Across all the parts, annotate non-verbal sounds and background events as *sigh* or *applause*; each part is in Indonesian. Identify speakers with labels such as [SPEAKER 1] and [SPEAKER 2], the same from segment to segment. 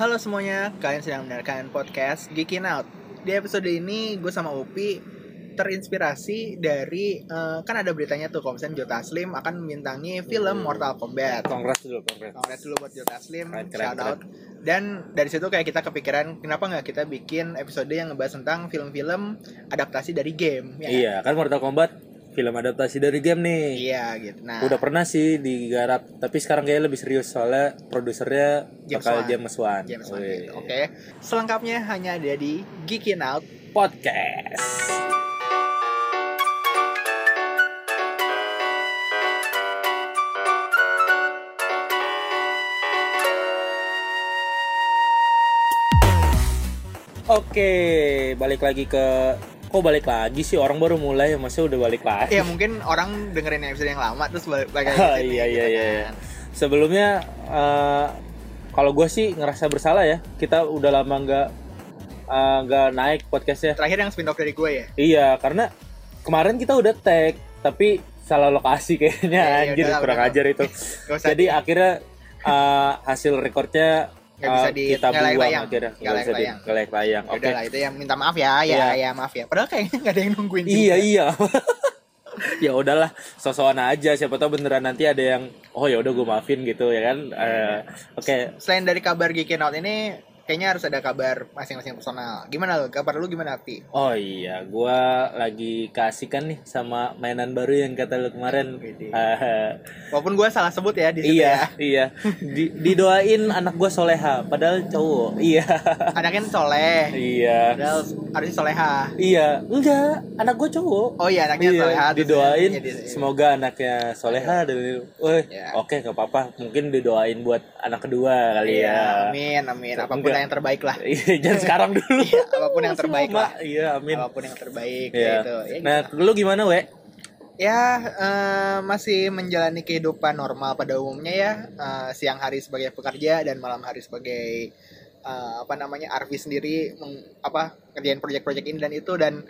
[SPEAKER 1] Halo semuanya, kalian sedang mendengarkan podcast Geekin Out. Di episode ini gue sama Upi terinspirasi dari eh, kan ada beritanya tuh kalau misalnya Jota Slim akan membintangi film
[SPEAKER 2] Hmm.
[SPEAKER 1] Mortal Kombat.
[SPEAKER 2] Kongres dulu, kongres.
[SPEAKER 1] Kongres Eh, dulu buat Jota Slim,
[SPEAKER 2] Keren, keren,
[SPEAKER 1] shout out. Dan dari situ kayak kita kepikiran kenapa nggak kita bikin episode yang ngebahas tentang film-film adaptasi dari game. ya?
[SPEAKER 2] Iya, kan Mortal Kombat film adaptasi dari game nih.
[SPEAKER 1] Iya gitu. Nah,
[SPEAKER 2] Udah pernah sih digarap, tapi sekarang kayaknya lebih serius soalnya produsernya
[SPEAKER 1] James Wan.
[SPEAKER 2] bakal James Wan.
[SPEAKER 1] James Wan
[SPEAKER 2] Wih.
[SPEAKER 1] gitu. Oke. Selengkapnya hanya ada di Geekin Out.
[SPEAKER 2] Podcast. Oke, balik lagi ke kok balik lagi sih orang baru mulai masih udah balik lagi.
[SPEAKER 1] Ya mungkin orang dengerin episode yang lama terus balik lagi
[SPEAKER 2] *laughs* Ah,
[SPEAKER 1] ke sini,
[SPEAKER 2] iya,
[SPEAKER 1] gitu
[SPEAKER 2] iya, iya,
[SPEAKER 1] kan.
[SPEAKER 2] sebelumnya eh, kalau gue sih ngerasa bersalah ya kita udah lama nggak eh, nggak naik podcastnya
[SPEAKER 1] Terakhir yang spin off dari gue ya.
[SPEAKER 2] iya karena kemarin kita udah tag tapi salah lokasi kayaknya
[SPEAKER 1] Iya, iya,
[SPEAKER 2] anjir
[SPEAKER 1] udah lah,
[SPEAKER 2] kurang
[SPEAKER 1] udah lah.
[SPEAKER 2] ajar
[SPEAKER 1] *laughs*
[SPEAKER 2] itu
[SPEAKER 1] Gak usah
[SPEAKER 2] jadi ah, akhirnya eh, hasil rekornya
[SPEAKER 1] Nggak bisa
[SPEAKER 2] eh,
[SPEAKER 1] di-
[SPEAKER 2] kita
[SPEAKER 1] nggak layak
[SPEAKER 2] buang
[SPEAKER 1] tayang.
[SPEAKER 2] akhirnya
[SPEAKER 1] Nggak
[SPEAKER 2] nggak
[SPEAKER 1] layak
[SPEAKER 2] bisa di
[SPEAKER 1] tayang.
[SPEAKER 2] nggak layak tayang
[SPEAKER 1] Ya
[SPEAKER 2] oke
[SPEAKER 1] Udah lah itu ya minta maaf ya, ya, ya maaf ya. Padahal kayaknya nggak ada yang nungguin.
[SPEAKER 2] iya
[SPEAKER 1] juga.
[SPEAKER 2] iya *laughs* ya udahlah sosokan aja siapa tahu beneran nanti ada yang oh ya udah gue maafin gitu ya kan Eh, oke
[SPEAKER 1] Selain dari kabar Geekin Out ini, kayaknya harus ada kabar masing-masing personal. Gimana lo? Kabar lu gimana Pi?
[SPEAKER 2] Oh iya, gua lagi kasihkan nih sama mainan baru yang kata lu kemarin.
[SPEAKER 1] Wede.
[SPEAKER 2] Eh,
[SPEAKER 1] Walaupun gue salah sebut ya di situ ya.
[SPEAKER 2] iya, iya. Di- didoain anak gua soleha, padahal cowok. Iya, *laughs*
[SPEAKER 1] ya. Anaknya soleh.
[SPEAKER 2] iya,
[SPEAKER 1] Padahal harusnya soleha.
[SPEAKER 2] iya. Enggak, anak gua cowok.
[SPEAKER 1] Oh iya, anaknya
[SPEAKER 2] Iya,
[SPEAKER 1] soleha. terus
[SPEAKER 2] didoain.
[SPEAKER 1] ya, jadi-
[SPEAKER 2] Semoga anaknya soleha dan, woi,
[SPEAKER 1] Iya.
[SPEAKER 2] oke, nggak apa-apa. Mungkin didoain buat anak kedua kali
[SPEAKER 1] Iya,
[SPEAKER 2] ya.
[SPEAKER 1] amin, amin. Apapun
[SPEAKER 2] Enggak.
[SPEAKER 1] lah yang terbaik lah.
[SPEAKER 2] Iya, jangan sekarang dulu.
[SPEAKER 1] Iya, apapun yang terbaik lah.
[SPEAKER 2] Iya, amin.
[SPEAKER 1] Apapun yang terbaik
[SPEAKER 2] Iya.
[SPEAKER 1] gitu. Ya,
[SPEAKER 2] Nah, lu gimana, we?
[SPEAKER 1] Ya eh, masih menjalani kehidupan normal pada umumnya ya Eh, siang hari sebagai pekerja dan malam hari sebagai eh, apa namanya Arvi sendiri meng- apa kerjain proyek-proyek ini dan itu dan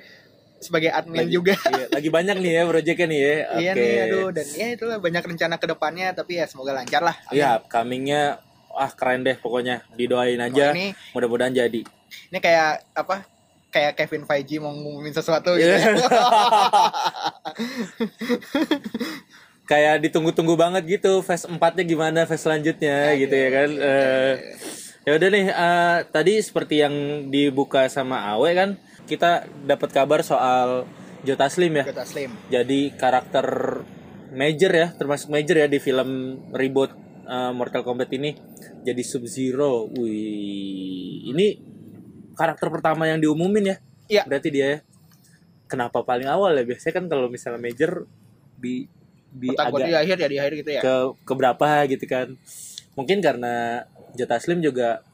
[SPEAKER 1] sebagai admin
[SPEAKER 2] Lagi-
[SPEAKER 1] juga
[SPEAKER 2] Iya, lagi banyak nih ya proyeknya nih ya.
[SPEAKER 1] iya
[SPEAKER 2] Oke.
[SPEAKER 1] nih aduh dan ya itulah banyak rencana kedepannya tapi ya semoga lancar lah Amin.
[SPEAKER 2] Iya, upcomingnya ah keren deh pokoknya. Didoain
[SPEAKER 1] Kalau
[SPEAKER 2] aja,
[SPEAKER 1] ini
[SPEAKER 2] mudah-mudahan jadi.
[SPEAKER 1] ini kayak apa kayak Kevin Feige mau ngumumin sesuatu gitu
[SPEAKER 2] *laughs*
[SPEAKER 1] *laughs*
[SPEAKER 2] Kayak ditunggu-tunggu banget gitu, phase 4-nya gimana, phase selanjutnya *laughs*
[SPEAKER 1] Iya,
[SPEAKER 2] gitu ya kan. Eh, ya udah nih, eh, tadi seperti yang dibuka sama Awe kan, kita dapat kabar soal Jota Slim ya.
[SPEAKER 1] Kota Slim
[SPEAKER 2] Jadi karakter major ya, termasuk major ya di film reboot eh, Mortal Kombat ini jadi Sub Zero. Wih, ini karakter pertama yang diumumin ya.
[SPEAKER 1] Iya.
[SPEAKER 2] Berarti dia ya. Kenapa paling awal ya? Biasanya kan kalau misalnya major di di
[SPEAKER 1] takut di
[SPEAKER 2] agak
[SPEAKER 1] akhir ya di akhir gitu ya
[SPEAKER 2] ke keberapa gitu kan. Mungkin karena Jota Slim juga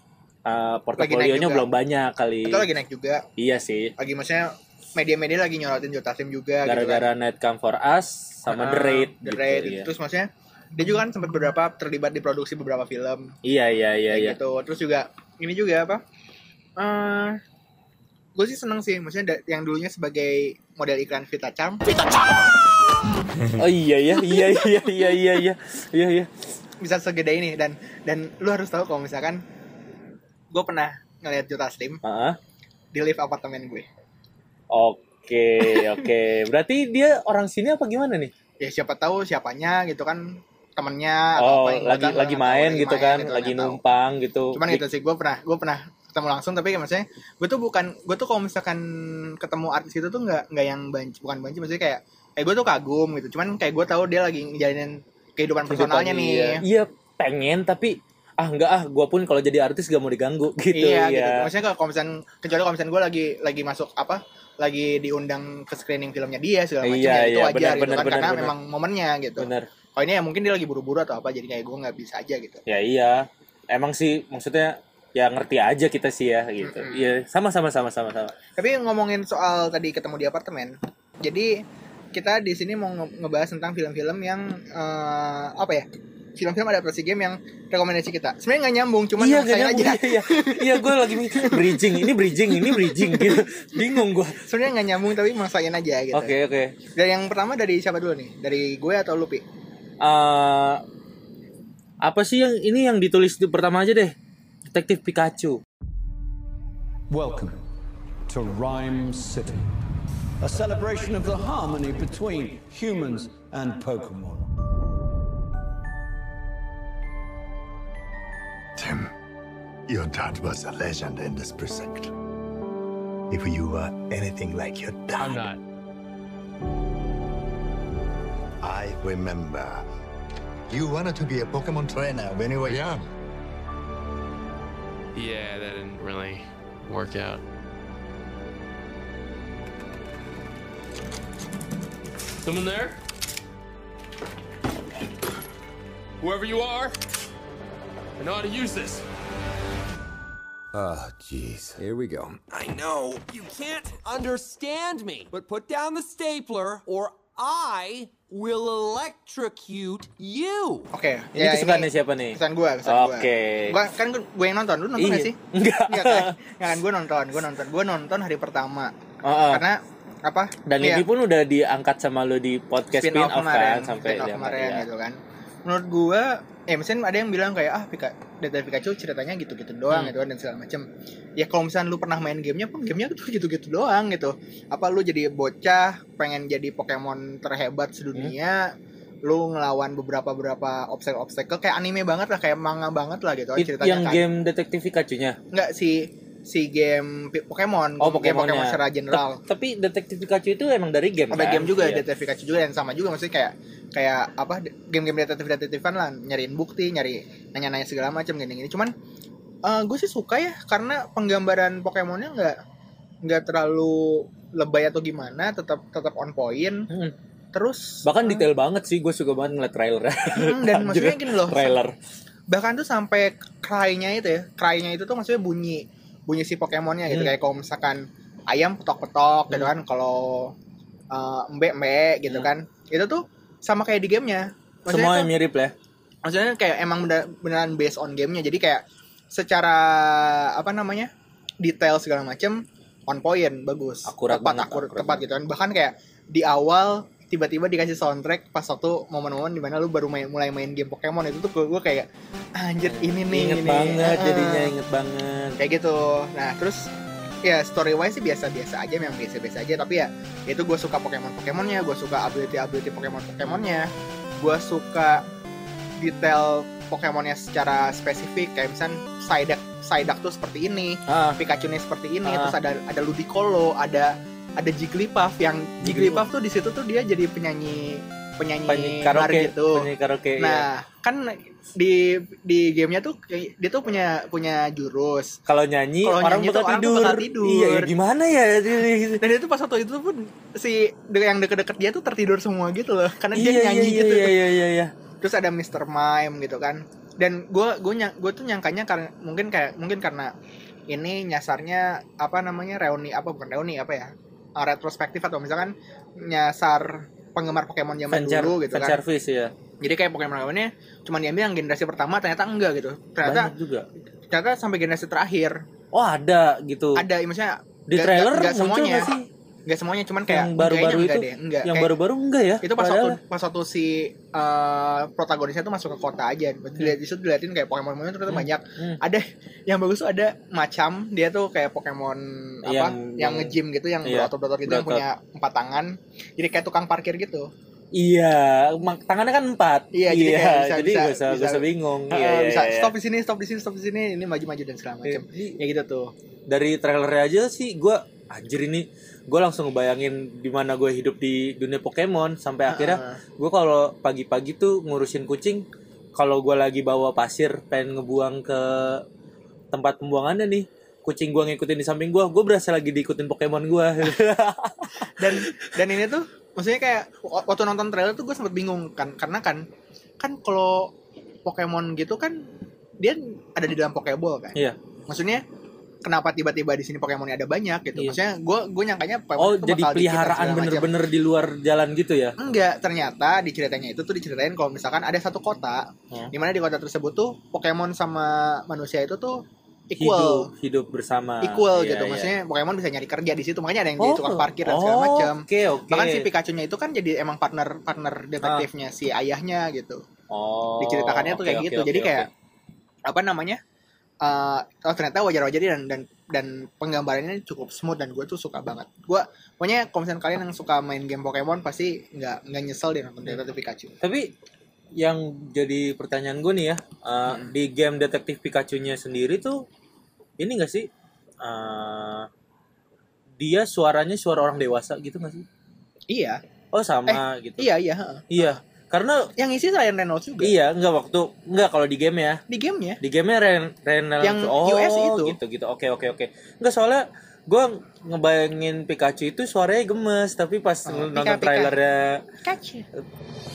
[SPEAKER 2] eh, portofolionya
[SPEAKER 1] juga.
[SPEAKER 2] belum banyak kali.
[SPEAKER 1] itu lagi Ya, naik juga
[SPEAKER 2] Iya sih.
[SPEAKER 1] lagi maksudnya media-media lagi nyorotin Joe Taslim juga
[SPEAKER 2] Gara-gara Night Come For Us
[SPEAKER 1] gitu kan.
[SPEAKER 2] sama The Raid
[SPEAKER 1] gitu The
[SPEAKER 2] gitu,
[SPEAKER 1] Raid.
[SPEAKER 2] iya.
[SPEAKER 1] terus maksudnya dia juga kan sempat beberapa terlibat di produksi beberapa film
[SPEAKER 2] Iya iya iya
[SPEAKER 1] kayak
[SPEAKER 2] iya.
[SPEAKER 1] gitu terus juga ini juga apa eh gue sih seneng sih maksudnya da- yang dulunya sebagai model iklan Vita Charm gitu.
[SPEAKER 2] Oh iya iya iya iya iya iya iya iya iya.
[SPEAKER 1] bisa segede ini dan dan lu harus tahu kalau misalkan gue pernah ngeliat Joe Taslim
[SPEAKER 2] Ah,
[SPEAKER 1] di lift apartemen gue
[SPEAKER 2] Oke oke. Berarti dia orang sini apa gimana nih?
[SPEAKER 1] ya siapa tahu siapanya gitu kan temennya
[SPEAKER 2] Oh
[SPEAKER 1] yang
[SPEAKER 2] lagi
[SPEAKER 1] bukan,
[SPEAKER 2] lagi
[SPEAKER 1] nggak tahu,
[SPEAKER 2] main gitu
[SPEAKER 1] main
[SPEAKER 2] kan,
[SPEAKER 1] gitu,
[SPEAKER 2] lagi
[SPEAKER 1] nggak tahu.
[SPEAKER 2] numpang gitu.
[SPEAKER 1] cuman
[SPEAKER 2] Di-
[SPEAKER 1] gitu sih gue pernah gue pernah ketemu langsung tapi kayak maksudnya gue tuh bukan gue tuh kalau misalkan ketemu artis itu tuh nggak nggak yang banci bukan banci maksudnya kayak eh gue tuh kagum gitu cuman kayak gue tahu dia lagi ngejalanin kehidupan personalnya nih
[SPEAKER 2] kehidupan, Iya Iya, pengen tapi ah enggak ah gua pun kalau jadi artis gak mau diganggu gitu
[SPEAKER 1] iya
[SPEAKER 2] ya.
[SPEAKER 1] gitu maksudnya kalau komisan kecuali komisan gue lagi lagi masuk apa lagi diundang ke screening filmnya dia segala macam
[SPEAKER 2] Iya,
[SPEAKER 1] ya, itu
[SPEAKER 2] iya,
[SPEAKER 1] wajar
[SPEAKER 2] benar,
[SPEAKER 1] gitu
[SPEAKER 2] benar,
[SPEAKER 1] kan
[SPEAKER 2] benar,
[SPEAKER 1] karena
[SPEAKER 2] benar.
[SPEAKER 1] memang momennya gitu
[SPEAKER 2] Bener.
[SPEAKER 1] kalau ini ya mungkin dia lagi buru-buru atau apa jadi kayak gue nggak bisa aja gitu
[SPEAKER 2] Ya iya. Emang sih maksudnya ya ngerti aja kita sih ya gitu.
[SPEAKER 1] Mm-mm.
[SPEAKER 2] Iya, sama sama sama sama sama.
[SPEAKER 1] Tapi ngomongin soal tadi ketemu di apartemen, jadi kita di sini mau nge- ngebahas tentang film-film yang eh, apa ya? Film-film adaptasi game yang rekomendasi kita. Sebenarnya nggak nyambung, cuman
[SPEAKER 2] iya,
[SPEAKER 1] saya
[SPEAKER 2] gak nyambung,
[SPEAKER 1] aja.
[SPEAKER 2] Iya, iya. iya gue lagi mikir bridging, ini bridging, ini bridging gitu. Bingung gue.
[SPEAKER 1] Sebenarnya nggak nyambung tapi maksain aja gitu.
[SPEAKER 2] Oke, oke.
[SPEAKER 1] Dari yang pertama dari siapa dulu nih? Dari gue atau Lupi?
[SPEAKER 2] Eh, apa sih yang ini yang ditulis di pertama aja deh? Detektif Pikachu.
[SPEAKER 3] Welcome to Rhyme City, a celebration of the harmony between humans and Pokemon.
[SPEAKER 4] Tim, your dad was a legend in this precinct. If you were anything like your dad,
[SPEAKER 5] I'm not.
[SPEAKER 4] I remember you wanted to be a Pokemon trainer when you were young.
[SPEAKER 5] Yeah, that didn't really work out. Someone there? Whoever you are, I know how to use this.
[SPEAKER 4] Oh, jeez.
[SPEAKER 6] Here we go.
[SPEAKER 7] I know.
[SPEAKER 8] You can't understand me, but put down the stapler or I will electrocute you.
[SPEAKER 1] Oke,
[SPEAKER 2] Ini kesukaannya siapa nih?
[SPEAKER 1] Kesan Ya, gue, kesan gue.
[SPEAKER 2] Oke.
[SPEAKER 1] Gua- kan gue yang nonton, lu nonton
[SPEAKER 2] Iya.
[SPEAKER 1] gak sih?
[SPEAKER 2] Enggak.
[SPEAKER 1] Iya kan? Nggak kan gue nonton, gue nonton, gue nonton hari pertama.
[SPEAKER 2] *laughs* Heeh.
[SPEAKER 1] Karena apa?
[SPEAKER 2] Ah. Dan
[SPEAKER 1] iya,
[SPEAKER 2] ini pun udah diangkat sama lo di podcast spin-off, kan sampai
[SPEAKER 1] spin-off
[SPEAKER 2] dia-
[SPEAKER 1] kemarin
[SPEAKER 2] ya.
[SPEAKER 1] gitu kan. Menurut gue, eh misalnya ada yang bilang kayak ah Pika, Data Pikachu ceritanya gitu-gitu
[SPEAKER 2] Hmm.
[SPEAKER 1] doang gitu kan dan segala macam. Ya kalau misalnya lu pernah main gamenya pun gamenya tuh gitu-gitu doang gitu. Apa lu jadi bocah pengen jadi Pokemon terhebat
[SPEAKER 2] Hmm.
[SPEAKER 1] sedunia? lu ngelawan beberapa beberapa obstacle obstacle kayak anime banget lah kayak manga banget lah gitu kan
[SPEAKER 2] It-
[SPEAKER 1] ceritanya
[SPEAKER 2] yang
[SPEAKER 1] kan.
[SPEAKER 2] game detektif Pikachu-nya.
[SPEAKER 1] nggak si si game P- Pokemon
[SPEAKER 2] Oh,
[SPEAKER 1] game
[SPEAKER 2] Pokemon-nya.
[SPEAKER 1] Pokemon secara general
[SPEAKER 2] Tep- Tapi detektif Pikachu itu emang dari game
[SPEAKER 1] ada
[SPEAKER 2] kan?
[SPEAKER 1] game juga ya,
[SPEAKER 2] Iya.
[SPEAKER 1] detektif Pikachu juga dan sama juga maksudnya kayak kayak apa de- game-game detektif detektifan lah nyariin bukti nyari nanya-nanya segala macam gini-gini cuman gue sih suka ya karena penggambaran Pokemonnya nggak nggak terlalu lebay atau gimana tetap tetap on point
[SPEAKER 2] Mm.
[SPEAKER 1] terus
[SPEAKER 2] Bahkan
[SPEAKER 1] eh,
[SPEAKER 2] detail banget sih, gue suka banget ngeliat trailer.
[SPEAKER 1] *laughs* mm, dan
[SPEAKER 2] *laughs*
[SPEAKER 1] maksudnya gini loh
[SPEAKER 2] trailer.
[SPEAKER 1] bahkan tuh sampai cry-nya itu ya cry-nya itu tuh maksudnya bunyi bunyi si Pokemonnya gitu
[SPEAKER 2] Hmm.
[SPEAKER 1] kayak kalau misalkan ayam petok-petok gitu
[SPEAKER 2] Hmm.
[SPEAKER 1] kan kalau uh, mbe mbe gitu
[SPEAKER 2] Hmm.
[SPEAKER 1] kan itu tuh sama kayak di gamenya maksudnya,
[SPEAKER 2] Semua
[SPEAKER 1] tuh-
[SPEAKER 2] mirip lah.
[SPEAKER 1] maksudnya kayak emang bener- beneran based on gamenya jadi kayak secara apa namanya detail segala macem on point bagus
[SPEAKER 2] Akurat
[SPEAKER 1] tepat
[SPEAKER 2] banget,
[SPEAKER 1] akur-
[SPEAKER 2] akurat
[SPEAKER 1] tepat gitu kan bahkan kayak di awal tiba-tiba dikasih soundtrack pas waktu momen-momen dimana lu baru main, mulai main game Pokemon itu tuh gue, gue kayak anjir ini nih
[SPEAKER 2] Inget
[SPEAKER 1] ini."
[SPEAKER 2] banget
[SPEAKER 1] Ah,
[SPEAKER 2] jadinya, inget banget.
[SPEAKER 1] kayak gitu nah terus ya story wise sih biasa-biasa aja memang biasa-biasa aja tapi ya itu gue suka Pokemon Pokemonnya gue suka ability ability Pokemon Pokemonnya gue suka detail Pokemonnya secara spesifik kayak misalnya Psyduck Psyduck tuh seperti ini
[SPEAKER 2] Ah,
[SPEAKER 1] Pikachu nya seperti ini
[SPEAKER 2] Ah.
[SPEAKER 1] terus ada ada Ludicolo ada ada Jigglypuff yang Jigglypuff tuh di situ tuh dia jadi penyanyi penyanyi,
[SPEAKER 2] penyanyi
[SPEAKER 1] bar
[SPEAKER 2] karaoke,
[SPEAKER 1] gitu
[SPEAKER 2] penyanyi karaoke. iya.
[SPEAKER 1] nah kan di di gamenya tuh kayak- dia tuh punya punya jurus
[SPEAKER 2] Kalau nyanyi,
[SPEAKER 1] Kalau
[SPEAKER 2] orang
[SPEAKER 1] nyanyi
[SPEAKER 2] bakal
[SPEAKER 1] tuh orang
[SPEAKER 2] tidur.
[SPEAKER 1] bakal tidur.
[SPEAKER 2] Iya, ya gimana ya? *laughs*
[SPEAKER 1] dan itu pas waktu itu pun si de- yang deket-deket dia tuh tertidur semua gitu loh karena dia
[SPEAKER 2] iya,
[SPEAKER 1] nyanyi
[SPEAKER 2] iya,
[SPEAKER 1] gitu
[SPEAKER 2] Iya, iya, iya, iya.
[SPEAKER 1] terus ada Mr. Mime gitu kan dan gue gue gue tuh nyangkanya karena mungkin kayak mungkin karena ini nyasarnya apa namanya reuni apa bukan reuni apa ya Ah, retrospektif atau misalkan nyasar penggemar Pokemon zaman
[SPEAKER 2] Fan jar-
[SPEAKER 1] dulu gitu
[SPEAKER 2] fan
[SPEAKER 1] kan
[SPEAKER 2] service ya.
[SPEAKER 1] jadi kayak Pokemon Pokemonnya cuma diambil yang generasi pertama ternyata enggak gitu ternyata
[SPEAKER 2] Banyak juga.
[SPEAKER 1] ternyata sampai generasi terakhir
[SPEAKER 2] Oh, ada gitu.
[SPEAKER 1] ada ya, maksudnya
[SPEAKER 2] Di
[SPEAKER 1] nggak-
[SPEAKER 2] trailer
[SPEAKER 1] nggak
[SPEAKER 2] muncul
[SPEAKER 1] semuanya.
[SPEAKER 2] nggak sih?
[SPEAKER 1] nggak semuanya cuman kayak
[SPEAKER 2] yang baru-baru
[SPEAKER 1] kayaknya
[SPEAKER 2] itu,
[SPEAKER 1] enggak deh, enggak.
[SPEAKER 2] yang
[SPEAKER 1] Kayak-
[SPEAKER 2] baru-baru enggak ya?
[SPEAKER 1] itu pas
[SPEAKER 2] Padahal.
[SPEAKER 1] waktu pas waktu si eh, protagonisnya tuh masuk ke kota aja dilihat di situ diliatin kayak Pokemon Pokemon ternyata
[SPEAKER 2] Hmm.
[SPEAKER 1] banyak
[SPEAKER 2] Hmm.
[SPEAKER 1] ada yang bagus tuh ada macam dia tuh kayak Pokemon apa yang,
[SPEAKER 2] Yang- yang-
[SPEAKER 1] nge-gym gitu yang
[SPEAKER 2] iya,
[SPEAKER 1] berotot-berotot gitu yang
[SPEAKER 2] berotot.
[SPEAKER 1] punya empat tangan jadi kayak tukang parkir gitu
[SPEAKER 2] Iya, mak- tangannya kan empat.
[SPEAKER 1] Iya, jadi kayak bisa-
[SPEAKER 2] jadi
[SPEAKER 1] bisa-
[SPEAKER 2] gak usah,
[SPEAKER 1] bisa-
[SPEAKER 2] gak usah bingung.
[SPEAKER 1] Eh,
[SPEAKER 2] Iya, iya,
[SPEAKER 1] bisa
[SPEAKER 2] iya.
[SPEAKER 1] stop di sini stop di sini stop di sini ini maju-maju dan segala macam
[SPEAKER 2] Jadi,
[SPEAKER 1] ya gitu tuh
[SPEAKER 2] dari trailernya aja sih, gue anjir ini, gue langsung ngebayangin dimana gue hidup di dunia Pokemon sampai akhirnya
[SPEAKER 1] Heeh.
[SPEAKER 2] gue kalau pagi-pagi tuh ngurusin kucing, kalau gue lagi bawa pasir pengen ngebuang ke tempat pembuangannya nih, kucing gue ngikutin di samping gue, gue berasa lagi diikutin Pokemon gue.
[SPEAKER 1] *laughs* dan dan ini tuh maksudnya kayak w- waktu nonton trailer tuh gue sempet bingung kan karena kan kan kalau Pokemon gitu kan dia ada di dalam Pokeball kan
[SPEAKER 2] Iya.
[SPEAKER 1] maksudnya kenapa tiba-tiba di sini Pokemonnya ada banyak gitu
[SPEAKER 2] Iya.
[SPEAKER 1] maksudnya gue gue nyangkanya Pokemon
[SPEAKER 2] oh,
[SPEAKER 1] tuh
[SPEAKER 2] jadi
[SPEAKER 1] bakal dikit dan
[SPEAKER 2] peliharaan
[SPEAKER 1] segala macam.
[SPEAKER 2] bener-bener di luar jalan gitu ya?
[SPEAKER 1] enggak ternyata di ceritanya itu tuh diceritain kalau misalkan ada satu kota
[SPEAKER 2] Hmm.
[SPEAKER 1] di mana di kota tersebut tuh Pokemon sama manusia itu tuh equal
[SPEAKER 2] Hidup, hidup bersama.
[SPEAKER 1] equal
[SPEAKER 2] Iya, Oh,
[SPEAKER 1] gitu
[SPEAKER 2] iya.
[SPEAKER 1] maksudnya Pokemon bisa nyari kerja di situ makanya ada yang jadi tukang parkir dan segala macam
[SPEAKER 2] Oke, oke. Ah.
[SPEAKER 1] Bahkan si Pikachu-nya itu kan jadi emang partner partner detektifnya si ayahnya gitu.
[SPEAKER 2] Oh,
[SPEAKER 1] Diceritakannya tuh
[SPEAKER 2] oke,
[SPEAKER 1] kayak
[SPEAKER 2] oke,
[SPEAKER 1] gitu.
[SPEAKER 2] oke,
[SPEAKER 1] jadi
[SPEAKER 2] oke.
[SPEAKER 1] kayak apa namanya? eh, oh ternyata wajar-wajar dia dan dan dan penggambarannya cukup smooth dan gue tuh suka banget. Gue pokoknya kalau misalnya kalian yang suka main game Pokemon pasti nggak nggak nyesel deh nonton Detective Pikachu.
[SPEAKER 2] Tapi yang jadi pertanyaan gue nih ya, uh,
[SPEAKER 1] Hmm.
[SPEAKER 2] di game detektif Pikachu-nya sendiri tuh ini gak sih? Uh, dia suaranya suara orang dewasa gitu gak sih?
[SPEAKER 1] Iya,
[SPEAKER 2] Oh sama gitu.
[SPEAKER 1] iya iya. heeh.
[SPEAKER 2] Iya. Karena
[SPEAKER 1] Yang isi Ryan Reynolds juga
[SPEAKER 2] iya nggak waktu nggak kalau di game ya.
[SPEAKER 1] di gamenya.
[SPEAKER 2] Di gamenya Ren Reynolds
[SPEAKER 1] Yang
[SPEAKER 2] oh,
[SPEAKER 1] US itu.
[SPEAKER 2] gitu gitu. Oke oke oke. Nggak soalnya gue ngebayangin Pikachu itu suaranya gemes tapi pas
[SPEAKER 1] Oh,
[SPEAKER 2] nonton
[SPEAKER 1] Pika, Pika.
[SPEAKER 2] trailernya
[SPEAKER 1] Pikachu.
[SPEAKER 6] Pikachu, Pikachu, Pika, Pika, Pikachu, Pikachu, Pikachu, Pika,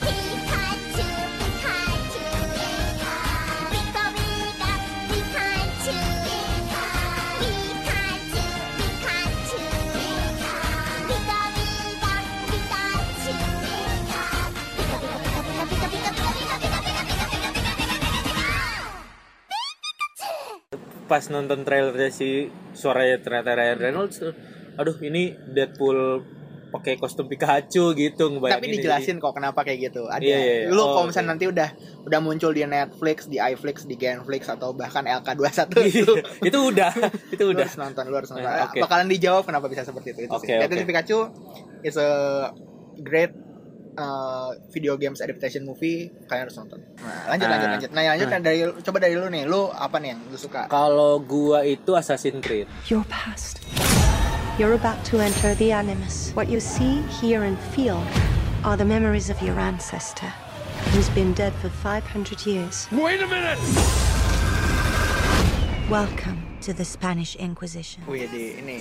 [SPEAKER 6] Pika, Pikachu, Pika, Pika, Pika, Pika, Pika, Pika, Pika, Pika, Pika, Pika, Pika, Pika.
[SPEAKER 2] pas nonton trailernya si suaranya ternyata Ryan Reynolds tuh, aduh ini Deadpool pakai kostum Pikachu gitu ngebayangin
[SPEAKER 1] Tapi dijelasin kok kenapa kayak gitu. Ada.
[SPEAKER 2] Iya, iya, iya.
[SPEAKER 1] Lu
[SPEAKER 2] Oh,
[SPEAKER 1] kalau misalnya
[SPEAKER 2] oke.
[SPEAKER 1] nanti udah udah muncul di Netflix, di iFlix, di Genflix atau bahkan LK21
[SPEAKER 2] *laughs* Jadi-
[SPEAKER 1] itu
[SPEAKER 2] itu
[SPEAKER 1] *laughs*
[SPEAKER 2] udah itu
[SPEAKER 1] lu
[SPEAKER 2] udah
[SPEAKER 1] harus nonton, lu harus nonton.
[SPEAKER 2] Eh, oke.
[SPEAKER 1] Bakalan dijawab kenapa bisa seperti itu. itu
[SPEAKER 2] Oke,
[SPEAKER 1] sih. Detective
[SPEAKER 2] oke.
[SPEAKER 1] Pikachu is a great uh, video games adaptation movie kalian harus nonton. Nah, lanjut
[SPEAKER 2] Ah.
[SPEAKER 1] lanjut lanjut. Nah, lanjut dari coba dari lu nih. Lu apa nih yang lu suka?
[SPEAKER 2] kalau gua itu Assassin's Creed
[SPEAKER 7] your past. You're about to enter the Animus. What you see, hear, and feel are the memories of your ancestor, who's been dead for 500 years.
[SPEAKER 5] Wait a minute!
[SPEAKER 7] Welcome to the Spanish Inquisition.
[SPEAKER 1] Wih, Oh, iya, di ini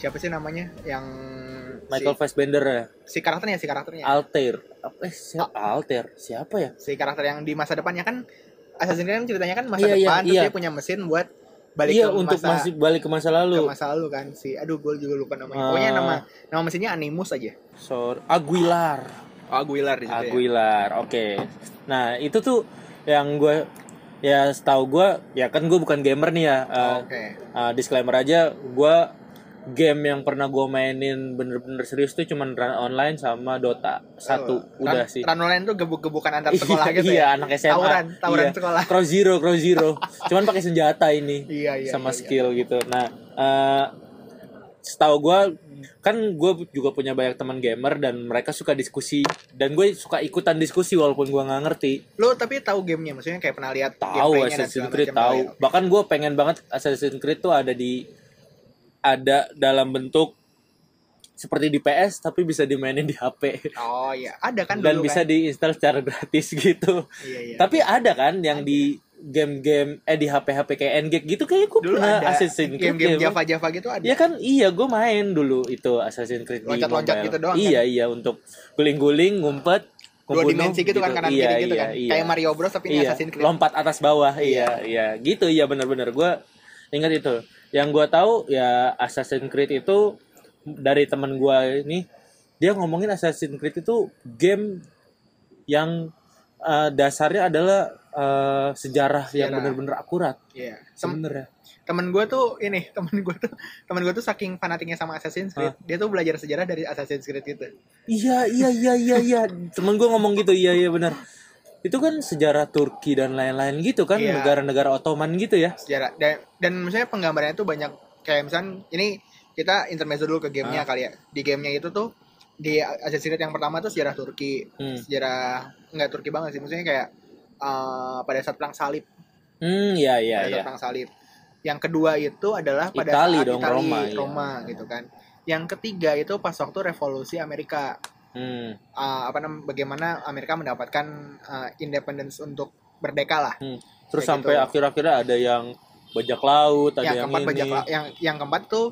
[SPEAKER 1] siapa sih namanya yang si, Iya.
[SPEAKER 2] Michael Ah. Fassbender ya
[SPEAKER 1] si karakternya si karakternya
[SPEAKER 2] Alter apa eh, siapa Alter siapa ya
[SPEAKER 1] si karakter yang di masa depannya kan Assassin's Creed kan ceritanya kan masa
[SPEAKER 2] Iya, iya,
[SPEAKER 1] depan terus
[SPEAKER 2] iya.
[SPEAKER 1] dia punya mesin buat balik
[SPEAKER 2] iya
[SPEAKER 1] ke
[SPEAKER 2] untuk
[SPEAKER 1] masa
[SPEAKER 2] masih balik ke masa
[SPEAKER 1] ke
[SPEAKER 2] lalu
[SPEAKER 1] masa lalu kan si aduh gue juga lupa namanya pokoknya
[SPEAKER 2] Ah.
[SPEAKER 1] nama nama mesinnya Animus aja
[SPEAKER 2] Sor Aguilar
[SPEAKER 1] Oh, Aguilar di ya.
[SPEAKER 2] Aguilar oke nah itu tuh yang gua ya setahu gua ya kan gua bukan gamer nih ya eh,
[SPEAKER 1] oke
[SPEAKER 2] Uh, disclaimer aja, gue game yang pernah gue mainin bener-bener serius tuh cuman run online sama Dota satu
[SPEAKER 1] Oh,
[SPEAKER 2] udah
[SPEAKER 1] run-
[SPEAKER 2] sih.
[SPEAKER 1] run online tuh gebuk-gebukan antar sekolah
[SPEAKER 2] *laughs* Iya,
[SPEAKER 1] gitu
[SPEAKER 2] iya,
[SPEAKER 1] ya
[SPEAKER 2] anak SMA.
[SPEAKER 1] tawuran tawuran
[SPEAKER 2] Iya.
[SPEAKER 1] sekolah
[SPEAKER 2] Cross zero, cross zero. cuman pakai senjata ini.
[SPEAKER 1] Iya, iya,
[SPEAKER 2] sama
[SPEAKER 1] iya,
[SPEAKER 2] skill gitu. Nah, eh setahu gue
[SPEAKER 1] Hmm.
[SPEAKER 2] kan gue juga punya banyak teman gamer dan mereka suka diskusi dan gue suka ikutan diskusi walaupun gue nggak ngerti
[SPEAKER 1] lu tapi tahu gamenya maksudnya kayak pernah lihat
[SPEAKER 2] tahu
[SPEAKER 1] gameplaynya dan Iya,
[SPEAKER 2] Assassin's
[SPEAKER 1] segala
[SPEAKER 2] Creed
[SPEAKER 1] macam. Oh,
[SPEAKER 2] tahu
[SPEAKER 1] iya.
[SPEAKER 2] bahkan gue pengen banget Assassin's Creed tuh ada di ada dalam bentuk seperti di PS tapi bisa dimainin di HP
[SPEAKER 1] oh iya ada kan
[SPEAKER 2] dan
[SPEAKER 1] dulu
[SPEAKER 2] bisa
[SPEAKER 1] kan?
[SPEAKER 2] diinstal secara gratis *laughs* gitu
[SPEAKER 1] Iya, iya.
[SPEAKER 2] tapi ada kan yang di game-game eh di HP-HP kayak Engage gitu kayak gue
[SPEAKER 1] dulu
[SPEAKER 2] pernah
[SPEAKER 1] ada
[SPEAKER 2] Assassin's Creed
[SPEAKER 1] game-game
[SPEAKER 2] game.
[SPEAKER 1] Java-Java gitu ada
[SPEAKER 2] Iya kan, iya gue main dulu itu Assassin's Creed di
[SPEAKER 1] Loncat-loncat
[SPEAKER 2] mobile.
[SPEAKER 1] gitu doang kan?
[SPEAKER 2] Iya iya untuk guling-guling, ngumpet,
[SPEAKER 1] dua
[SPEAKER 2] ngebunuh,
[SPEAKER 1] dimensi gitu, kan kanan
[SPEAKER 2] Iya,
[SPEAKER 1] kiri gitu
[SPEAKER 2] iya,
[SPEAKER 1] kan
[SPEAKER 2] iya
[SPEAKER 1] kayak Mario Bros tapi ini
[SPEAKER 2] iya,
[SPEAKER 1] Assassin's Creed
[SPEAKER 2] lompat atas bawah iya iya gitu iya benar-benar gue ingat itu yang gue tahu ya Assassin's Creed itu dari teman gue ini dia ngomongin Assassin's Creed itu game yang eh, dasarnya adalah eh, sejarah, yang
[SPEAKER 1] Sejarah.
[SPEAKER 2] benar-benar akurat
[SPEAKER 1] Iya. Tem-
[SPEAKER 2] sebenarnya
[SPEAKER 1] temen gue tuh ini *laughs* temen gue tuh temen gue tuh saking fanatiknya sama Assassin's Creed dia tuh belajar sejarah dari Assassin's Creed gitu
[SPEAKER 2] iya iya iya iya iya temen gue ngomong gitu iya iya benar itu kan sejarah Turki dan lain-lain gitu kan
[SPEAKER 1] Iya.
[SPEAKER 2] negara-negara Ottoman gitu ya
[SPEAKER 1] sejarah dan dan misalnya penggambarannya tuh banyak kayak misalnya ini kita intermezzo dulu ke
[SPEAKER 2] Ah.
[SPEAKER 1] gamenya kali ya di gamenya itu tuh di Assassin's Creed yang pertama tuh sejarah Turki
[SPEAKER 2] Hmm.
[SPEAKER 1] sejarah nggak Turki banget sih maksudnya kayak eh, pada saat perang salib
[SPEAKER 2] hmm iya iya
[SPEAKER 1] pada
[SPEAKER 2] iya
[SPEAKER 1] saat perang salib. Yang kedua itu adalah pada
[SPEAKER 2] Itali
[SPEAKER 1] saat
[SPEAKER 2] dong,
[SPEAKER 1] Itali,
[SPEAKER 2] Roma, iya.
[SPEAKER 1] gitu kan. Yang ketiga itu pas waktu revolusi Amerika
[SPEAKER 2] hmm.
[SPEAKER 1] eh, apa namanya bagaimana Amerika mendapatkan eh, independence untuk merdeka lah.
[SPEAKER 2] Hmm. Terus
[SPEAKER 1] Kayak
[SPEAKER 2] sampai
[SPEAKER 1] gitu.
[SPEAKER 2] akhir-akhirnya ada yang bajak laut, ada
[SPEAKER 1] yang,
[SPEAKER 2] yang,
[SPEAKER 1] keempat
[SPEAKER 2] ini.
[SPEAKER 1] bajak la- yang yang keempat tuh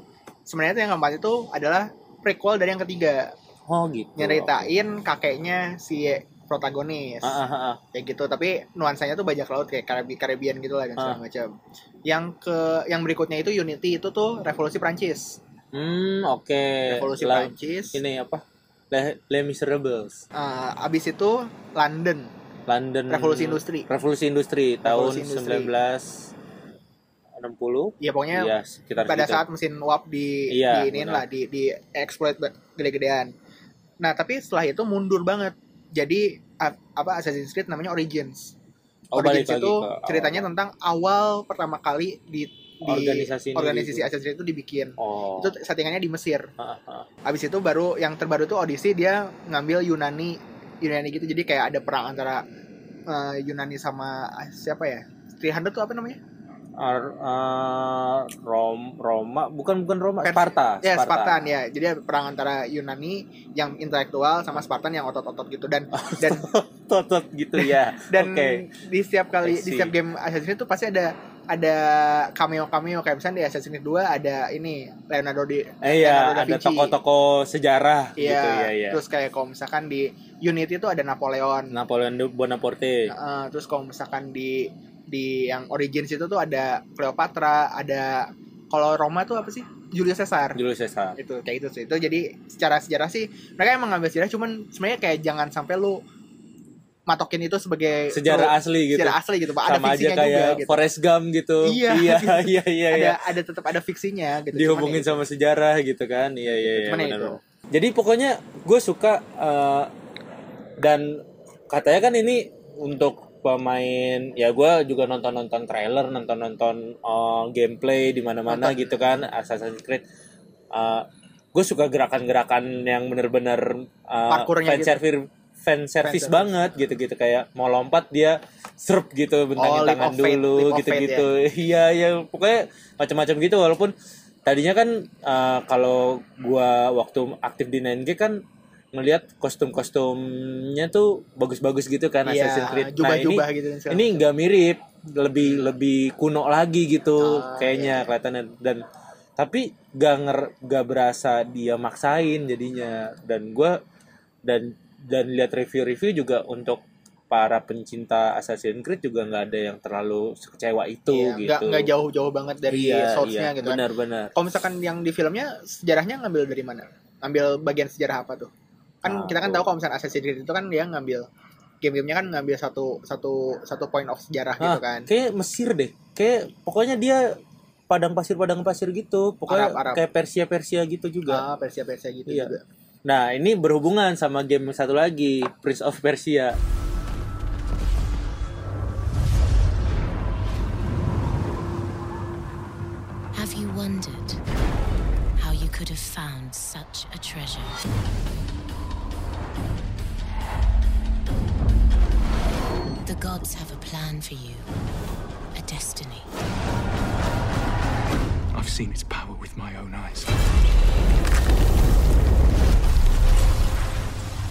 [SPEAKER 1] sebenarnya tuh yang keempat itu adalah prequel dari yang ketiga
[SPEAKER 2] Oh gitu.
[SPEAKER 1] nyeritain kakeknya si protagonis
[SPEAKER 2] Ah, ah, ah, ah.
[SPEAKER 1] kayak gitu tapi nuansanya tuh bajak laut kayak Karabi Karibian gitu lah dan
[SPEAKER 2] Ah.
[SPEAKER 1] segala macam yang ke yang berikutnya itu Unity itu tuh revolusi Prancis
[SPEAKER 2] Hmm, oke.
[SPEAKER 1] revolusi
[SPEAKER 2] La-
[SPEAKER 1] Prancis
[SPEAKER 2] Ini apa? Le, Les Miserables.
[SPEAKER 1] Eh, abis itu London
[SPEAKER 2] London.
[SPEAKER 1] Revolusi Industri.
[SPEAKER 2] Revolusi Industri tahun
[SPEAKER 1] Revolusi Industri.
[SPEAKER 2] 1960.
[SPEAKER 1] ya pokoknya
[SPEAKER 2] Iya, sekitar
[SPEAKER 1] pada
[SPEAKER 2] situ.
[SPEAKER 1] saat mesin uap di
[SPEAKER 2] Iya,
[SPEAKER 1] diinin
[SPEAKER 2] benar.
[SPEAKER 1] lah di di exploit ba- gede-gedean nah tapi setelah itu mundur banget jadi a- apa Assassin's Creed namanya Origins
[SPEAKER 2] Oh,
[SPEAKER 1] Origins
[SPEAKER 2] balik lagi
[SPEAKER 1] itu
[SPEAKER 2] ke awal.
[SPEAKER 1] ceritanya tentang awal pertama kali di, di
[SPEAKER 2] Organisasi ini
[SPEAKER 1] organisasi
[SPEAKER 2] gitu.
[SPEAKER 1] Assassin's itu dibikin.
[SPEAKER 2] Oh.
[SPEAKER 1] Itu settingannya di Mesir.
[SPEAKER 2] Ah, ah.
[SPEAKER 1] Abis itu baru yang terbaru tuh Odyssey dia ngambil Yunani Yunani gitu jadi kayak ada perang antara eh, Yunani sama ah, siapa ya? 300 tuh apa namanya?
[SPEAKER 2] Ar- ah, Rom Roma bukan bukan Roma
[SPEAKER 1] Pers-
[SPEAKER 2] Sparta
[SPEAKER 1] Ya Spartan ya. Jadi ada perang antara Yunani yang intelektual sama Spartan yang otot-otot gitu dan dan
[SPEAKER 2] *laughs* Totot gitu
[SPEAKER 1] *laughs*
[SPEAKER 2] ya
[SPEAKER 1] dan
[SPEAKER 2] Oh, oke
[SPEAKER 1] di setiap kali di
[SPEAKER 2] I see.
[SPEAKER 1] setiap game Assassin's Creed tuh pasti ada ada cameo cameo kayak misalnya di Assassin's Creed 2 ada ini Leonardo di
[SPEAKER 2] Eh, iya
[SPEAKER 1] Leonardo da
[SPEAKER 2] ada
[SPEAKER 1] Vinci.
[SPEAKER 2] tokoh-tokoh sejarah
[SPEAKER 1] Iya,
[SPEAKER 2] gitu ya ya
[SPEAKER 1] terus kayak kalau misalkan di Unity tuh ada Napoleon.
[SPEAKER 2] Napoleon Bonaparte
[SPEAKER 1] Eh, terus kalau misalkan di di yang Origins itu tuh ada Cleopatra, ada kalau Roma tuh apa sih? Julius Caesar.
[SPEAKER 2] Julius Caesar
[SPEAKER 1] itu Gitu, kayak itu sih itu jadi secara sejarah sih mereka emang ngambil sejarah cuman sebenarnya kayak jangan sampai lu matokin itu sebagai lu-
[SPEAKER 2] sejarah asli gitu
[SPEAKER 1] sejarah asli gitu pak ada
[SPEAKER 2] sama aja
[SPEAKER 1] fiksinya juga
[SPEAKER 2] kayak
[SPEAKER 1] gitu
[SPEAKER 2] Forrest Gump gitu
[SPEAKER 1] Iya,
[SPEAKER 2] iya *laughs*
[SPEAKER 1] gitu.
[SPEAKER 2] iya iya,
[SPEAKER 1] ada
[SPEAKER 2] iya.
[SPEAKER 1] ada tetap ada fiksinya gitu Cuman
[SPEAKER 2] dihubungin
[SPEAKER 1] ya
[SPEAKER 2] sama sejarah gitu kan iya iya iya
[SPEAKER 1] Cuman ya
[SPEAKER 2] benar,
[SPEAKER 1] itu.
[SPEAKER 2] benar. jadi pokoknya gue suka eh, dan katanya kan ini untuk pemain ya gue juga nonton nonton trailer nonton nonton gameplay di mana mana
[SPEAKER 1] Nonton.
[SPEAKER 2] gitu kan Assassin's Creed Eh, gue suka gerakan-gerakan yang bener-bener eh,
[SPEAKER 1] Parkurnya
[SPEAKER 2] fan
[SPEAKER 1] gitu.
[SPEAKER 2] service fan service
[SPEAKER 1] service.
[SPEAKER 2] banget gitu-gitu kayak mau lompat dia serp gitu bentangin
[SPEAKER 1] Oh, leap
[SPEAKER 2] tangan
[SPEAKER 1] of faith, ya.
[SPEAKER 2] dulu
[SPEAKER 1] leap of
[SPEAKER 2] gitu-gitu *laughs* iya iya pokoknya macam-macam gitu walaupun tadinya kan eh, kalau gua waktu aktif di 9G kan melihat kostum-kostumnya tuh bagus-bagus gitu kan
[SPEAKER 1] Iya,
[SPEAKER 2] Assassin's Creed.
[SPEAKER 1] jubah-jubah
[SPEAKER 2] ini,
[SPEAKER 1] gitu dan segala
[SPEAKER 2] ini nggak mirip, lebih lebih kuno lagi gitu
[SPEAKER 1] Ah,
[SPEAKER 2] kayaknya kelihatannya dan tapi gak nger gak berasa dia maksain jadinya dan gua dan dan lihat review-review juga untuk para pencinta Assassin's Creed juga nggak ada yang terlalu kecewa itu
[SPEAKER 1] Iya,
[SPEAKER 2] gitu.
[SPEAKER 1] nggak nggak jauh-jauh banget dari
[SPEAKER 2] Iya,
[SPEAKER 1] source-nya
[SPEAKER 2] iya,
[SPEAKER 1] gitu kan
[SPEAKER 2] Benar-benar.
[SPEAKER 1] kalau misalkan yang di filmnya sejarahnya ngambil dari mana ngambil bagian sejarah apa tuh kan
[SPEAKER 2] Ah,
[SPEAKER 1] kita kan
[SPEAKER 2] tuh.
[SPEAKER 1] tahu kalau misalkan Assassin's Creed itu kan dia ngambil game-gamenya kan ngambil satu satu satu point of sejarah gitu
[SPEAKER 2] Hah,
[SPEAKER 1] kan
[SPEAKER 2] Kayak Mesir deh. Kayak pokoknya dia padang pasir padang pasir gitu. Pokoknya
[SPEAKER 1] Arab, Arab.
[SPEAKER 2] kayak Persia Persia gitu juga.
[SPEAKER 1] Ah, Persia Persia gitu
[SPEAKER 2] Iya.
[SPEAKER 1] juga.
[SPEAKER 2] Nah ini berhubungan sama game satu lagi Prince of Persia.
[SPEAKER 9] Have you wondered how you could have found such a treasure? The gods have a plan for you, a destiny.
[SPEAKER 5] I've seen its power with my own eyes.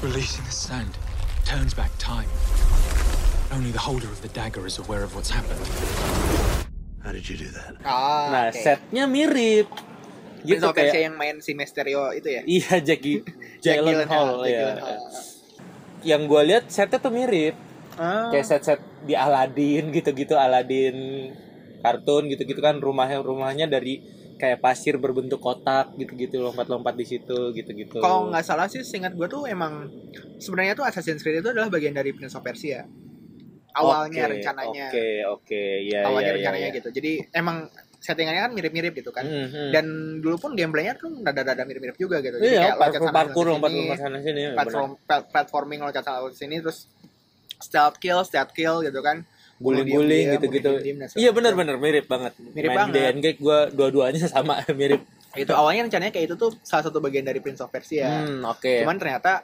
[SPEAKER 5] Releasing the sand turns back time. Only the holder of the dagger is aware of what's happened.
[SPEAKER 4] How did you do that?
[SPEAKER 1] Ah,
[SPEAKER 2] Nah
[SPEAKER 1] oke.
[SPEAKER 2] setnya mirip.
[SPEAKER 1] Prince
[SPEAKER 2] Gitu
[SPEAKER 1] of Persia
[SPEAKER 2] kayak
[SPEAKER 1] yang main si Mysterio itu ya.
[SPEAKER 2] *laughs* iya
[SPEAKER 1] *laughs*
[SPEAKER 2] Jackie
[SPEAKER 1] Jack
[SPEAKER 2] Jalen
[SPEAKER 1] Gyllenhaal,
[SPEAKER 2] Hall
[SPEAKER 1] Jack
[SPEAKER 2] ya.
[SPEAKER 1] Gyllenhaal.
[SPEAKER 2] Yang gue lihat setnya tuh mirip.
[SPEAKER 1] Ah,
[SPEAKER 2] Kayak set-set di Aladdin gitu-gitu Aladdin kartun gitu-gitu kan rumahnya rumahnya dari kayak pasir berbentuk kotak gitu-gitu lompat-lompat di situ gitu-gitu.
[SPEAKER 1] kalau nggak salah sih, seingat gue tuh emang sebenarnya tuh Assassin's Creed itu adalah bagian dari Prince of Persia. Awalnya
[SPEAKER 2] Oke,
[SPEAKER 1] rencananya,
[SPEAKER 2] Oke, oke, ya.
[SPEAKER 1] awalnya
[SPEAKER 2] ya, ya,
[SPEAKER 1] rencananya
[SPEAKER 2] ya.
[SPEAKER 1] gitu. Jadi emang settingannya kan mirip-mirip gitu kan.
[SPEAKER 2] Hmm, hmm.
[SPEAKER 1] Dan dulu pun gameplaynya tuh rada-rada mirip-mirip juga gitu. Jadi kayak
[SPEAKER 2] iya,
[SPEAKER 1] loncat
[SPEAKER 2] parkur,
[SPEAKER 1] sana,
[SPEAKER 2] parkur,
[SPEAKER 1] loncat
[SPEAKER 2] lompat
[SPEAKER 1] sini,
[SPEAKER 2] lompat sana sini. ya,
[SPEAKER 1] platform plat- platforming loncat sana loncat sini terus stealth kill, stealth kill gitu kan.
[SPEAKER 2] benar. guling-guling
[SPEAKER 1] Bunuh diem-diem,
[SPEAKER 2] gitu-gitu.
[SPEAKER 1] bunuh diem-diem, dan segala
[SPEAKER 2] Iya, benar
[SPEAKER 1] macam.
[SPEAKER 2] benar mirip banget.
[SPEAKER 1] Mirip
[SPEAKER 2] Main
[SPEAKER 1] banget.
[SPEAKER 2] DNG gua dua-duanya *laughs* sama mirip.
[SPEAKER 1] itu awalnya rencananya kayak itu tuh salah satu bagian dari Prince of Persia
[SPEAKER 2] Hmm, oke.
[SPEAKER 1] Iya. cuman ternyata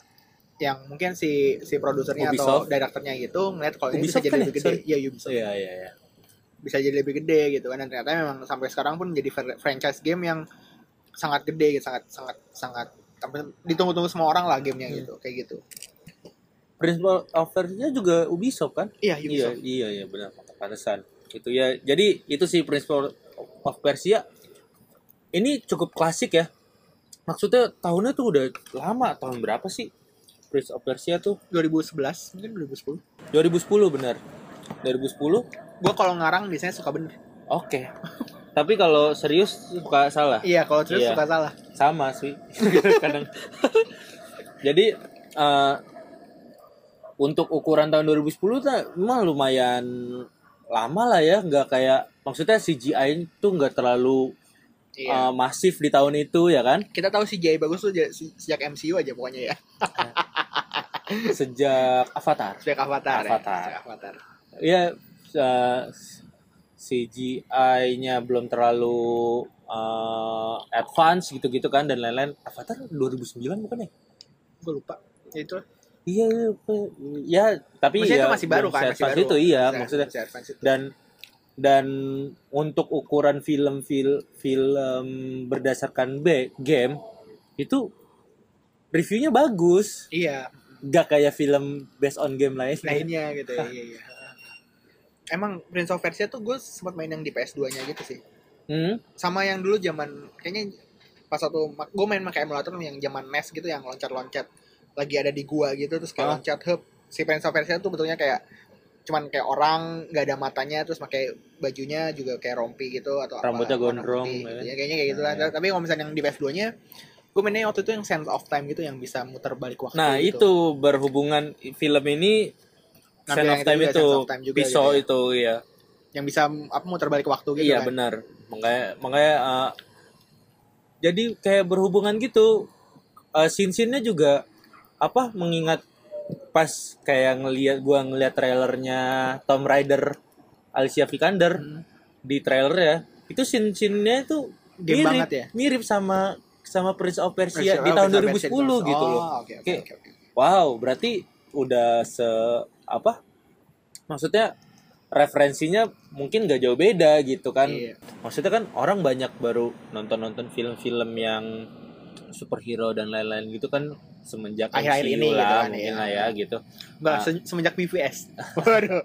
[SPEAKER 1] yang mungkin si si produsernya atau
[SPEAKER 2] Ubisoft.
[SPEAKER 1] direkturnya gitu ngeliat kalau ini bisa
[SPEAKER 2] Ubisoft
[SPEAKER 1] jadi
[SPEAKER 2] kan ya?
[SPEAKER 1] lebih gede
[SPEAKER 2] Sorry.
[SPEAKER 1] ya Ubisoft
[SPEAKER 2] Iya, iya, iya.
[SPEAKER 1] bisa jadi lebih gede gitu kan dan ternyata memang sampai sekarang pun jadi fr- franchise game yang sangat gede gitu, sangat sangat sangat sampai ditunggu-tunggu semua orang lah gamenya
[SPEAKER 2] Hmm.
[SPEAKER 1] gitu kayak gitu
[SPEAKER 2] Principal of Persia juga Ubisoft kan?
[SPEAKER 1] iya
[SPEAKER 2] Iya,
[SPEAKER 1] Ubisoft
[SPEAKER 2] iya, iya benar. Pantesan. Itu ya. Jadi itu sih Principal of Persia ini cukup klasik ya. Maksudnya tahunnya tuh udah lama, tahun berapa sih? Prince of Persia tuh
[SPEAKER 1] 2011 mungkin 2010
[SPEAKER 2] 2010 benar. 2010.
[SPEAKER 1] gue kalau ngarang biasanya suka bener
[SPEAKER 2] Oke. Tapi kalau serius suka salah.
[SPEAKER 1] iya kalau terus
[SPEAKER 2] Iya.
[SPEAKER 1] suka salah
[SPEAKER 2] Sama sih. *laughs* Kadang. Jadi eh, untuk ukuran tahun 2010 tuh emang lumayan lama lah ya, nggak kayak maksudnya CGI itu nggak terlalu eh, masif di tahun itu ya kan?
[SPEAKER 1] Iya. kita tahu CGI bagus tuh je- se- sejak MCU aja pokoknya ya
[SPEAKER 2] Sejak Avatar.
[SPEAKER 1] sejak Avatar ya.
[SPEAKER 2] Avatar.
[SPEAKER 1] Sejak Avatar
[SPEAKER 2] ya eh, CGI-nya belum terlalu eh, advance gitu-gitu kan dan lain-lain. Avatar 2009 bukan ya?
[SPEAKER 1] gue lupa ya itu lah.
[SPEAKER 2] Iya, iya, apa- ya tapi
[SPEAKER 1] Maksudnya
[SPEAKER 2] ya
[SPEAKER 1] itu masih baru
[SPEAKER 2] belum
[SPEAKER 1] kan
[SPEAKER 2] se
[SPEAKER 1] masih
[SPEAKER 2] advance
[SPEAKER 1] baru
[SPEAKER 2] itu iya
[SPEAKER 1] Masih-
[SPEAKER 2] maksudnya
[SPEAKER 1] masih advance itu.
[SPEAKER 2] dan dan untuk ukuran film film film berdasarkan B game itu reviewnya bagus
[SPEAKER 1] iya
[SPEAKER 2] gak kayak film based on game lain
[SPEAKER 1] lainnya gitu ya iya,
[SPEAKER 2] *laughs*
[SPEAKER 1] iya. emang Prince of Persia tuh gue sempat main yang di PS2 nya gitu sih
[SPEAKER 2] Hmm?
[SPEAKER 1] sama yang dulu zaman kayaknya pas satu gue main pakai emulator yang zaman NES gitu yang loncat-loncat lagi ada di gua gitu terus kayak
[SPEAKER 2] Ah.
[SPEAKER 1] loncat hub si Prince of Persia tuh betulnya kayak cuman kayak orang nggak ada matanya terus pakai bajunya juga kayak rompi gitu atau apa,
[SPEAKER 2] Rambutnya
[SPEAKER 1] warna
[SPEAKER 2] gondrong,
[SPEAKER 1] putih
[SPEAKER 2] ya
[SPEAKER 1] gitu
[SPEAKER 2] kan?
[SPEAKER 1] ya, kayaknya kayak gitu lah
[SPEAKER 2] Nah, ya.
[SPEAKER 1] tapi kalau misalnya yang di PS2 nya gue mainnya waktu itu yang Sense of Time gitu yang bisa muter balik waktu
[SPEAKER 2] nah
[SPEAKER 1] gitu.
[SPEAKER 2] itu berhubungan film ini
[SPEAKER 1] Ngambil
[SPEAKER 2] Sense
[SPEAKER 1] yang
[SPEAKER 2] of
[SPEAKER 1] itu
[SPEAKER 2] Time
[SPEAKER 1] juga,
[SPEAKER 2] itu,
[SPEAKER 1] Sense of Time juga
[SPEAKER 2] pisau
[SPEAKER 1] gitu ya.
[SPEAKER 2] itu ya
[SPEAKER 1] yang bisa apa muter balik waktu gitu
[SPEAKER 2] iya
[SPEAKER 1] kan.
[SPEAKER 2] benar makanya makanya uh, jadi kayak berhubungan gitu uh, scene scene-nya juga apa mengingat pas kayak ngelihat gua ngelihat trailernya Tom Rider Alicia Vikander
[SPEAKER 1] Hmm.
[SPEAKER 2] di trailer ya itu scene scene-nya itu
[SPEAKER 1] Game
[SPEAKER 2] mirip
[SPEAKER 1] banget ya?
[SPEAKER 2] mirip sama sama Prince of Persia
[SPEAKER 1] Versi-
[SPEAKER 2] Iya, di
[SPEAKER 1] oh,
[SPEAKER 2] tahun
[SPEAKER 1] versi-
[SPEAKER 2] 2010
[SPEAKER 1] versi-
[SPEAKER 2] gitu loh
[SPEAKER 1] Oh, oke, oke,
[SPEAKER 2] Kayak,
[SPEAKER 1] oke, oke.
[SPEAKER 2] Wow, berarti udah se apa? Maksudnya referensinya mungkin gak jauh beda gitu kan?
[SPEAKER 1] Iya.
[SPEAKER 2] Maksudnya kan orang banyak baru nonton-nonton film-film yang superhero dan lain-lain gitu kan semenjak
[SPEAKER 1] Akhir-akhir
[SPEAKER 2] MCU
[SPEAKER 1] ini
[SPEAKER 2] lah
[SPEAKER 1] gitu kan,
[SPEAKER 2] mungkin
[SPEAKER 1] iya.
[SPEAKER 2] lah ya gitu.
[SPEAKER 1] Enggak,
[SPEAKER 2] Ah.
[SPEAKER 1] se- semenjak
[SPEAKER 2] *laughs*
[SPEAKER 1] BVS. Waduh.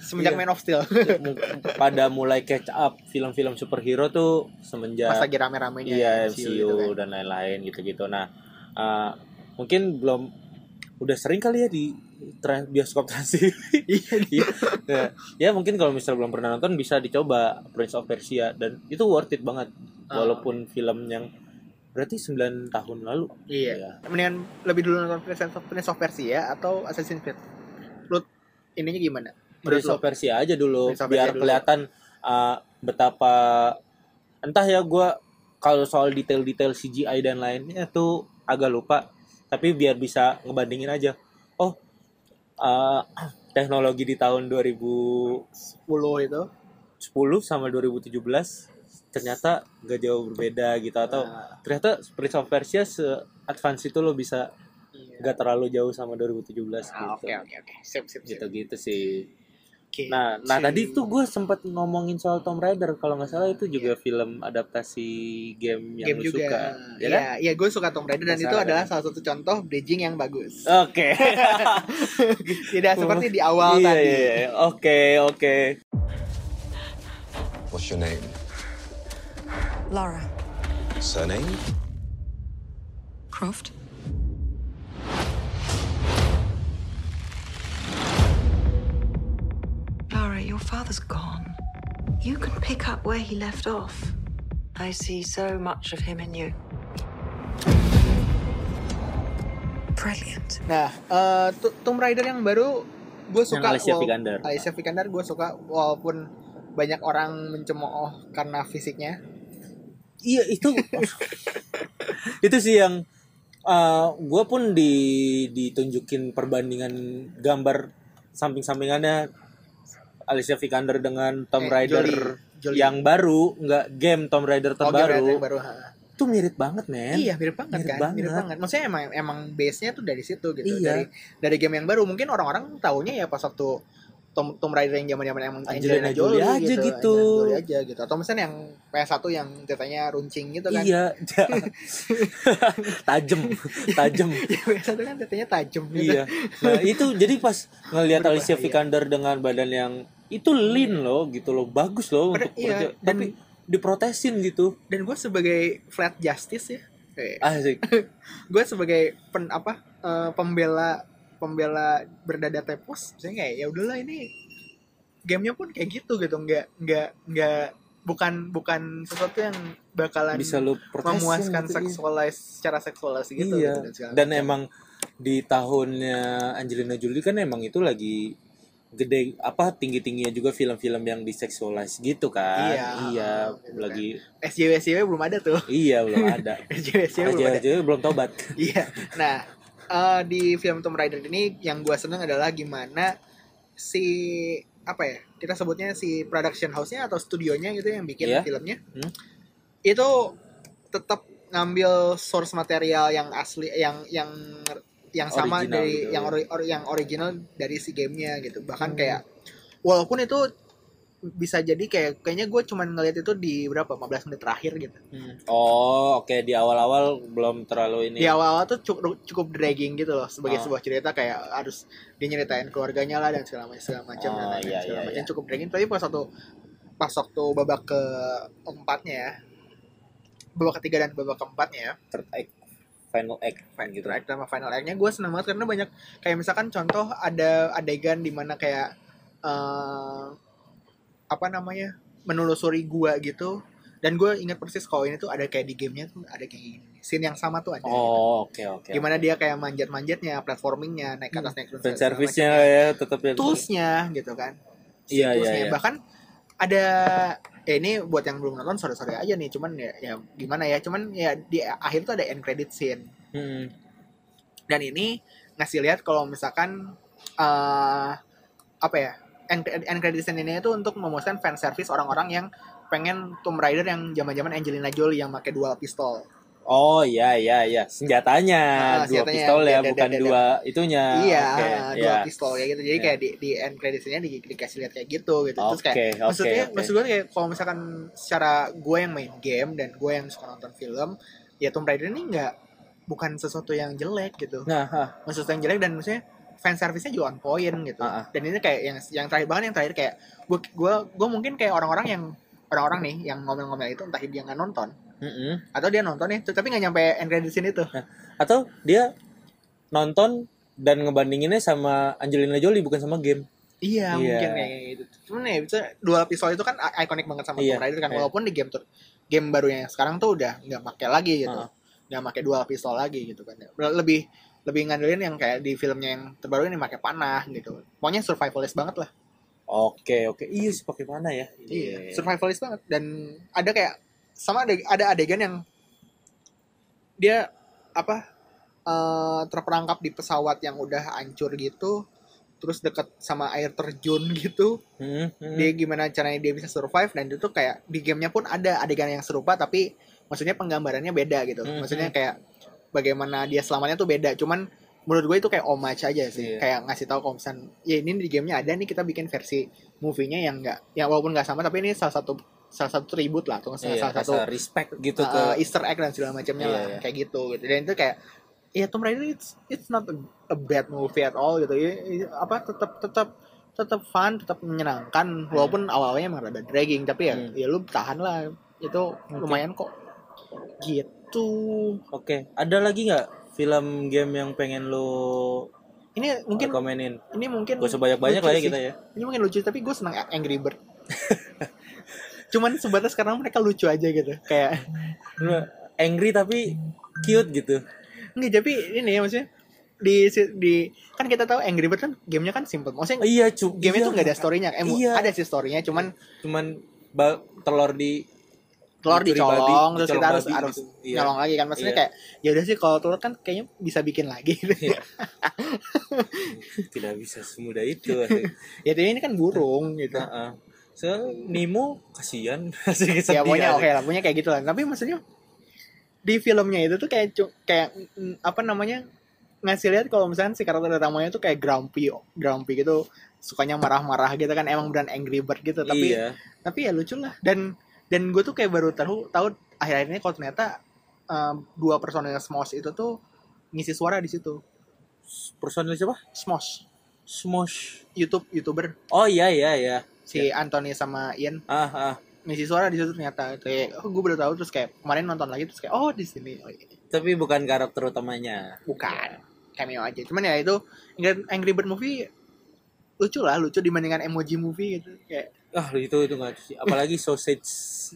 [SPEAKER 1] Semenjak
[SPEAKER 2] Iya.
[SPEAKER 1] Man of Steel.
[SPEAKER 2] Mu- Pada mulai catch up film-film superhero tuh semenjak
[SPEAKER 1] Pas lagi rame-ramenya
[SPEAKER 2] Iya
[SPEAKER 1] MCU
[SPEAKER 2] MCU,
[SPEAKER 1] gitu kan.
[SPEAKER 2] dan lain-lain gitu-gitu. Nah uh, mungkin belum udah sering kali ya di tra- bioskop *laughs* trans TV.
[SPEAKER 1] gitu.
[SPEAKER 2] Iya. Nah, ya mungkin kalau misalnya belum pernah nonton bisa dicoba Prince of Persia dan itu worth it banget
[SPEAKER 1] Ah.
[SPEAKER 2] walaupun film yang berarti 9 tahun lalu.
[SPEAKER 1] Iya.
[SPEAKER 2] Ya.
[SPEAKER 1] Mendingan lebih dulu nonton Prince of, Prince of Persia ya, atau Assassin's Creed. Lu ininya gimana? Menurut
[SPEAKER 2] Prince
[SPEAKER 1] lo?
[SPEAKER 2] of Persia aja dulu
[SPEAKER 1] Prince of Persia
[SPEAKER 2] biar
[SPEAKER 1] dulu.
[SPEAKER 2] kelihatan uh, betapa entah ya gua kalau soal detail-detail CGI dan lainnya tuh agak lupa tapi biar bisa ngebandingin aja oh uh, *clears throat* teknologi di tahun 2010
[SPEAKER 1] 10 itu.
[SPEAKER 2] sama 2017 ternyata gak jauh berbeda gitu atau
[SPEAKER 1] Nah,
[SPEAKER 2] ternyata Prince of Persia se advance itu lo bisa
[SPEAKER 1] iya.
[SPEAKER 2] gak terlalu jauh sama 2017 gitu
[SPEAKER 1] Ah, Oke, oke, oke. Sip, sip, sip.
[SPEAKER 2] gitu-gitu sih
[SPEAKER 1] Oke.
[SPEAKER 2] Nah, nah
[SPEAKER 1] Si-
[SPEAKER 2] tadi tuh gue sempat ngomongin soal Tomb Raider kalau nggak salah itu juga film adaptasi game yang
[SPEAKER 1] Iya. game
[SPEAKER 2] lu
[SPEAKER 1] juga.
[SPEAKER 2] suka, ya
[SPEAKER 1] Iya,
[SPEAKER 2] kan?
[SPEAKER 1] iya gue suka Tomb Raider dan itu
[SPEAKER 2] Penasaran.
[SPEAKER 1] adalah salah satu contoh bridging yang bagus.
[SPEAKER 2] Oke.
[SPEAKER 1] Tidak *laughs* seperti di awal
[SPEAKER 2] Iya,
[SPEAKER 1] tadi.
[SPEAKER 2] iya, iya. Oke, oke.
[SPEAKER 4] What's your name?
[SPEAKER 7] Laura.
[SPEAKER 4] Surname?
[SPEAKER 7] Croft? Laura, your father's gone. You can pick up where he left off. I see so much of him in you. Brilliant.
[SPEAKER 1] Nah, eh, Tu- Tomb Raider yang baru gue suka
[SPEAKER 2] Alicia
[SPEAKER 1] wal-
[SPEAKER 2] Vikander.
[SPEAKER 1] Alicia Vikander gue suka walaupun banyak orang mencemooh karena fisiknya.
[SPEAKER 2] Iya itu.
[SPEAKER 1] *laughs*
[SPEAKER 2] itu sih yang gue pun di ditunjukin perbandingan gambar samping-sampingannya Alicia Vikander dengan
[SPEAKER 1] Eh,
[SPEAKER 2] Tomb Raider
[SPEAKER 1] Jolie. Jolie.
[SPEAKER 2] yang baru, nggak game Tomb
[SPEAKER 1] Oh,
[SPEAKER 2] Raider
[SPEAKER 1] Tomb Raider
[SPEAKER 2] terbaru,
[SPEAKER 1] yang baru. ha.
[SPEAKER 2] itu mirip banget men.
[SPEAKER 1] Iya, mirip banget
[SPEAKER 2] Mirip
[SPEAKER 1] kan? Mirip
[SPEAKER 2] banget.
[SPEAKER 1] banget. Maksudnya emang emang base-nya tuh dari situ gitu.
[SPEAKER 2] Iya.
[SPEAKER 1] Dari dari game yang baru mungkin orang-orang taunya ya pas waktu Tomb, Tomb Raider yang zaman-zaman emang
[SPEAKER 2] Angelina Jolie aja gitu.
[SPEAKER 1] Angelina Jolie aja gitu. Atau misalnya yang PS1 yang ceritanya runcing gitu kan. *laughs*
[SPEAKER 2] Iya, ja. tajem, tajem.
[SPEAKER 1] PS1 kan ceritanya tajam gitu.
[SPEAKER 2] iya. Nah itu jadi pas ngelihat
[SPEAKER 1] Berbahaya.
[SPEAKER 2] Alicia Vikander dengan badan yang itu lean loh gitu loh, bagus loh
[SPEAKER 1] Pada-
[SPEAKER 2] untuk
[SPEAKER 1] iya,
[SPEAKER 2] kerja.
[SPEAKER 1] dan-
[SPEAKER 2] Tapi diprotesin gitu, Ah,
[SPEAKER 1] Dan gue sebagai flat justice ya. eh,
[SPEAKER 2] asik.
[SPEAKER 1] gue sebagai pen apa eh, pembela pembela berdada tepos misalnya kayak ya udahlah ini gamenya pun kayak gitu gitu nggak nggak nggak bukan bukan sesuatu yang bakalan
[SPEAKER 2] Bisa lo protesin.
[SPEAKER 1] memuaskan
[SPEAKER 2] gitu, iya.
[SPEAKER 1] seksualis secara seksualis gitu,
[SPEAKER 2] iya.
[SPEAKER 1] gitu, segala
[SPEAKER 2] dan
[SPEAKER 1] macam.
[SPEAKER 2] emang di tahunnya Angelina Jolie kan emang itu lagi gede apa tinggi tingginya juga film-film yang diseksualize gitu kan
[SPEAKER 1] Iya,
[SPEAKER 2] iya
[SPEAKER 1] gitu kan.
[SPEAKER 2] lagi
[SPEAKER 1] SJW SJW belum ada tuh *laughs*
[SPEAKER 2] iya belum ada
[SPEAKER 1] SJW SJW belum ada
[SPEAKER 2] aja belum tobat
[SPEAKER 1] Iya. Nah, eh, di film Tomb Raider ini yang gue seneng adalah gimana si apa ya kita sebutnya si production house-nya atau studionya gitu yang bikin
[SPEAKER 2] Iya.
[SPEAKER 1] filmnya
[SPEAKER 2] Hmm.
[SPEAKER 1] itu tetap ngambil source material yang asli yang yang yang sama
[SPEAKER 2] Original
[SPEAKER 1] dari
[SPEAKER 2] gitu. Hmm.
[SPEAKER 1] yang ori- or- yang original dari si gamenya gitu bahkan kayak walaupun itu bisa jadi kayak kayaknya gue cuman ngeliat itu di berapa 15 menit terakhir gitu
[SPEAKER 2] Oh, oke di awal-awal belum terlalu ini.
[SPEAKER 1] di awal tuh cukup cukup dragging gitu loh sebagai
[SPEAKER 2] Iya. Oh.
[SPEAKER 1] sebuah cerita kayak harus dia nyeritain keluarganya lah dan segala macam segala macam dan
[SPEAKER 2] Oh,
[SPEAKER 1] lain-lain,
[SPEAKER 2] iya,
[SPEAKER 1] segala
[SPEAKER 2] iya,
[SPEAKER 1] macam
[SPEAKER 2] iya.
[SPEAKER 1] cukup dragging tapi pas waktu pas waktu babak keempatnya ya babak ketiga dan babak keempatnya ya
[SPEAKER 2] Third act, final act
[SPEAKER 1] final
[SPEAKER 2] gitu.
[SPEAKER 1] act sama final act-nya gue seneng banget karena banyak kayak misalkan contoh ada adegan dimana kayak eh apa namanya menelusuri gua gitu dan gue ingat persis kalau ini tuh ada kayak di gamenya tuh ada kayak gini scene yang sama tuh ada
[SPEAKER 2] Oh, oke oke.
[SPEAKER 1] gimana dia kayak manjat-manjatnya, platformingnya, naik ke atas naik turun,
[SPEAKER 2] Fan
[SPEAKER 1] segala
[SPEAKER 2] service-nya
[SPEAKER 1] macam.
[SPEAKER 2] ya tetap ya.
[SPEAKER 1] toolsnya gitu kan.
[SPEAKER 2] Iya, iya,
[SPEAKER 1] Toolsnya.
[SPEAKER 2] iya.
[SPEAKER 1] Bahkan ada ya ini buat yang belum nonton sorry sorry aja nih, cuman ya, ya gimana ya, cuman ya di akhir tuh ada end credit scene.
[SPEAKER 2] Hmm.
[SPEAKER 1] Dan ini ngasih lihat kalau misalkan eh apa ya end, end credit scene ini itu untuk memuaskan fan service orang-orang yang pengen Tomb Raider yang zaman-zaman Angelina Jolie yang pakai dual pistol.
[SPEAKER 2] Oh iya iya iya senjatanya
[SPEAKER 1] Ah,
[SPEAKER 2] dua
[SPEAKER 1] senjatanya
[SPEAKER 2] pistol ya
[SPEAKER 1] yang beda-
[SPEAKER 2] bukan
[SPEAKER 1] beda-
[SPEAKER 2] dua itunya.
[SPEAKER 1] iya,
[SPEAKER 2] oke,
[SPEAKER 1] dua
[SPEAKER 2] iya.
[SPEAKER 1] pistol kayak gitu. Jadi
[SPEAKER 2] Iya.
[SPEAKER 1] kayak di, di end creditsnya di, dikasih lihat kayak gitu gitu. Terus kayak
[SPEAKER 2] Oke, oke,
[SPEAKER 1] maksudnya
[SPEAKER 2] oke.
[SPEAKER 1] maksud gue kayak kalau misalkan secara gue yang main game dan gue yang suka nonton film, ya Tomb Raider ini enggak bukan sesuatu yang jelek gitu.
[SPEAKER 2] Nah, ah,
[SPEAKER 1] Maksud yang jelek dan maksudnya fan service-nya juga on point gitu.
[SPEAKER 2] Ah, ah.
[SPEAKER 1] Dan ini kayak yang yang terakhir banget yang terakhir kayak gue gue gue mungkin kayak orang-orang yang orang-orang nih yang ngomel-ngomel itu entah dia nggak nonton
[SPEAKER 2] mm-mm.
[SPEAKER 1] atau dia nonton nih tapi nggak nyampe end credits scene itu.
[SPEAKER 2] Atau dia nonton dan ngebandinginnya sama Angelina Jolie bukan sama game.
[SPEAKER 1] Iya
[SPEAKER 2] Iya.
[SPEAKER 1] mungkin kayak gitu. Cuman ya bisa dual pistol itu kan i- ikonik banget sama
[SPEAKER 2] Iya,
[SPEAKER 1] Tomb Raider kan
[SPEAKER 2] iya.
[SPEAKER 1] walaupun di game tuh game barunya yang sekarang tuh udah nggak pakai lagi gitu,
[SPEAKER 2] Ah.
[SPEAKER 1] nggak pakai dual pistol lagi gitu kan. Lebih lebih ngandelin yang kayak di filmnya yang terbaru ini pakai panah gitu. Pokoknya survivalist banget lah.
[SPEAKER 2] Oke oke. Iya sih pakai mana ya? Iya.
[SPEAKER 1] survivalist banget dan ada kayak sama ada ada adegan yang dia apa eh, terperangkap di pesawat yang udah hancur gitu, terus deket sama air terjun gitu.
[SPEAKER 2] Mm, mm.
[SPEAKER 1] dia gimana caranya dia bisa survive dan itu kayak di gamenya pun ada adegan yang serupa tapi maksudnya penggambarannya beda gitu
[SPEAKER 2] Mhm.
[SPEAKER 1] maksudnya kayak bagaimana dia selamanya tuh beda cuman menurut gue itu kayak homage aja sih
[SPEAKER 2] Iya.
[SPEAKER 1] kayak ngasih tahu kalau misalnya, ya ini di gamenya ada nih kita bikin versi movie-nya yang enggak ya walaupun nggak sama tapi ini salah satu salah satu tribut lah atau
[SPEAKER 2] Iya,
[SPEAKER 1] salah satu
[SPEAKER 2] rasa respect gitu ke
[SPEAKER 1] uh, Easter egg dan segala macamnya
[SPEAKER 2] Iya,
[SPEAKER 1] lah
[SPEAKER 2] iya.
[SPEAKER 1] kayak gitu gitu dan itu kayak ya Tomb Raider it's it's not a, a bad movie at all gitu ya, ya, apa tetap tetap tetap fun tetap menyenangkan walaupun awalnya emang rada dragging tapi ya
[SPEAKER 2] Iya. Hmm.
[SPEAKER 1] ya lu tahan lah itu lumayan kok gitu
[SPEAKER 2] Oke, ada lagi nggak film game yang pengen lo
[SPEAKER 1] ini mungkin
[SPEAKER 2] mungkin komenin?
[SPEAKER 1] ini mungkin
[SPEAKER 2] Gak usah banyak-banyak
[SPEAKER 1] lucu
[SPEAKER 2] lah ya
[SPEAKER 1] sih.
[SPEAKER 2] kita ya.
[SPEAKER 1] ini mungkin lucu tapi gue seneng Angry
[SPEAKER 2] *laughs*
[SPEAKER 1] Bird cuman sebatas karena mereka lucu aja gitu kayak
[SPEAKER 2] Angry tapi cute gitu.
[SPEAKER 1] Nggak, tapi ini ya maksudnya di si- di kan kita tahu Angry Bird kan gamenya kan simple. Maksudnya
[SPEAKER 2] Iya, cu-
[SPEAKER 1] gamenya
[SPEAKER 2] iya.
[SPEAKER 1] tuh nggak ada storynya. Eh, mu-
[SPEAKER 2] Iya.
[SPEAKER 1] ada sih storynya, cuman
[SPEAKER 2] Cuman ba- telur di
[SPEAKER 1] telur
[SPEAKER 2] Dicuri
[SPEAKER 1] dicolong
[SPEAKER 2] babi,
[SPEAKER 1] terus
[SPEAKER 2] dicolong
[SPEAKER 1] kita harus
[SPEAKER 2] babi
[SPEAKER 1] harus
[SPEAKER 2] gitu. Iya.
[SPEAKER 1] nyolong lagi kan. Maksudnya
[SPEAKER 2] Iya.
[SPEAKER 1] kayak ya udah sih kalau telur kan kayaknya bisa bikin lagi. *laughs*
[SPEAKER 2] Iya. tidak bisa semudah
[SPEAKER 1] *laughs*
[SPEAKER 2] itu.
[SPEAKER 1] ya tapi ini kan burung gitu.
[SPEAKER 2] Heeh. So, Nemo kasihan *laughs* masih
[SPEAKER 1] ya
[SPEAKER 2] kesedihan.
[SPEAKER 1] pokoknya oke lah, punya kayak gitu lah. Tapi maksudnya di filmnya itu tuh kayak cu- kayak mm, apa namanya ngasih lihat kalau misalnya si karakter utamanya tuh kayak grumpy grumpy gitu sukanya marah-marah gitu kan emang beneran angry bird gitu tapi
[SPEAKER 2] iya.
[SPEAKER 1] tapi ya lucu lah dan dan gue tuh kayak baru tahu tahu akhir-akhir ini kalau ternyata um, dua personel Smosh itu tuh ngisi suara di situ
[SPEAKER 2] personil siapa?
[SPEAKER 1] Smosh
[SPEAKER 2] Smosh.
[SPEAKER 1] YouTube youtuber
[SPEAKER 2] Oh iya iya iya.
[SPEAKER 1] si Anthony sama Ian
[SPEAKER 2] Ah ah.
[SPEAKER 1] ngisi suara di situ ternyata kayak oh, gue baru tahu terus kayak kemarin nonton lagi terus kayak oh di sini Oh, iya.
[SPEAKER 2] Tapi bukan karakter utamanya.
[SPEAKER 1] bukan cameo aja cuman ya itu Angry- Angry Bird movie lucu lah lucu dibandingkan emoji movie gitu kayak
[SPEAKER 2] Ah itu itu nggak sih. Apalagi sausage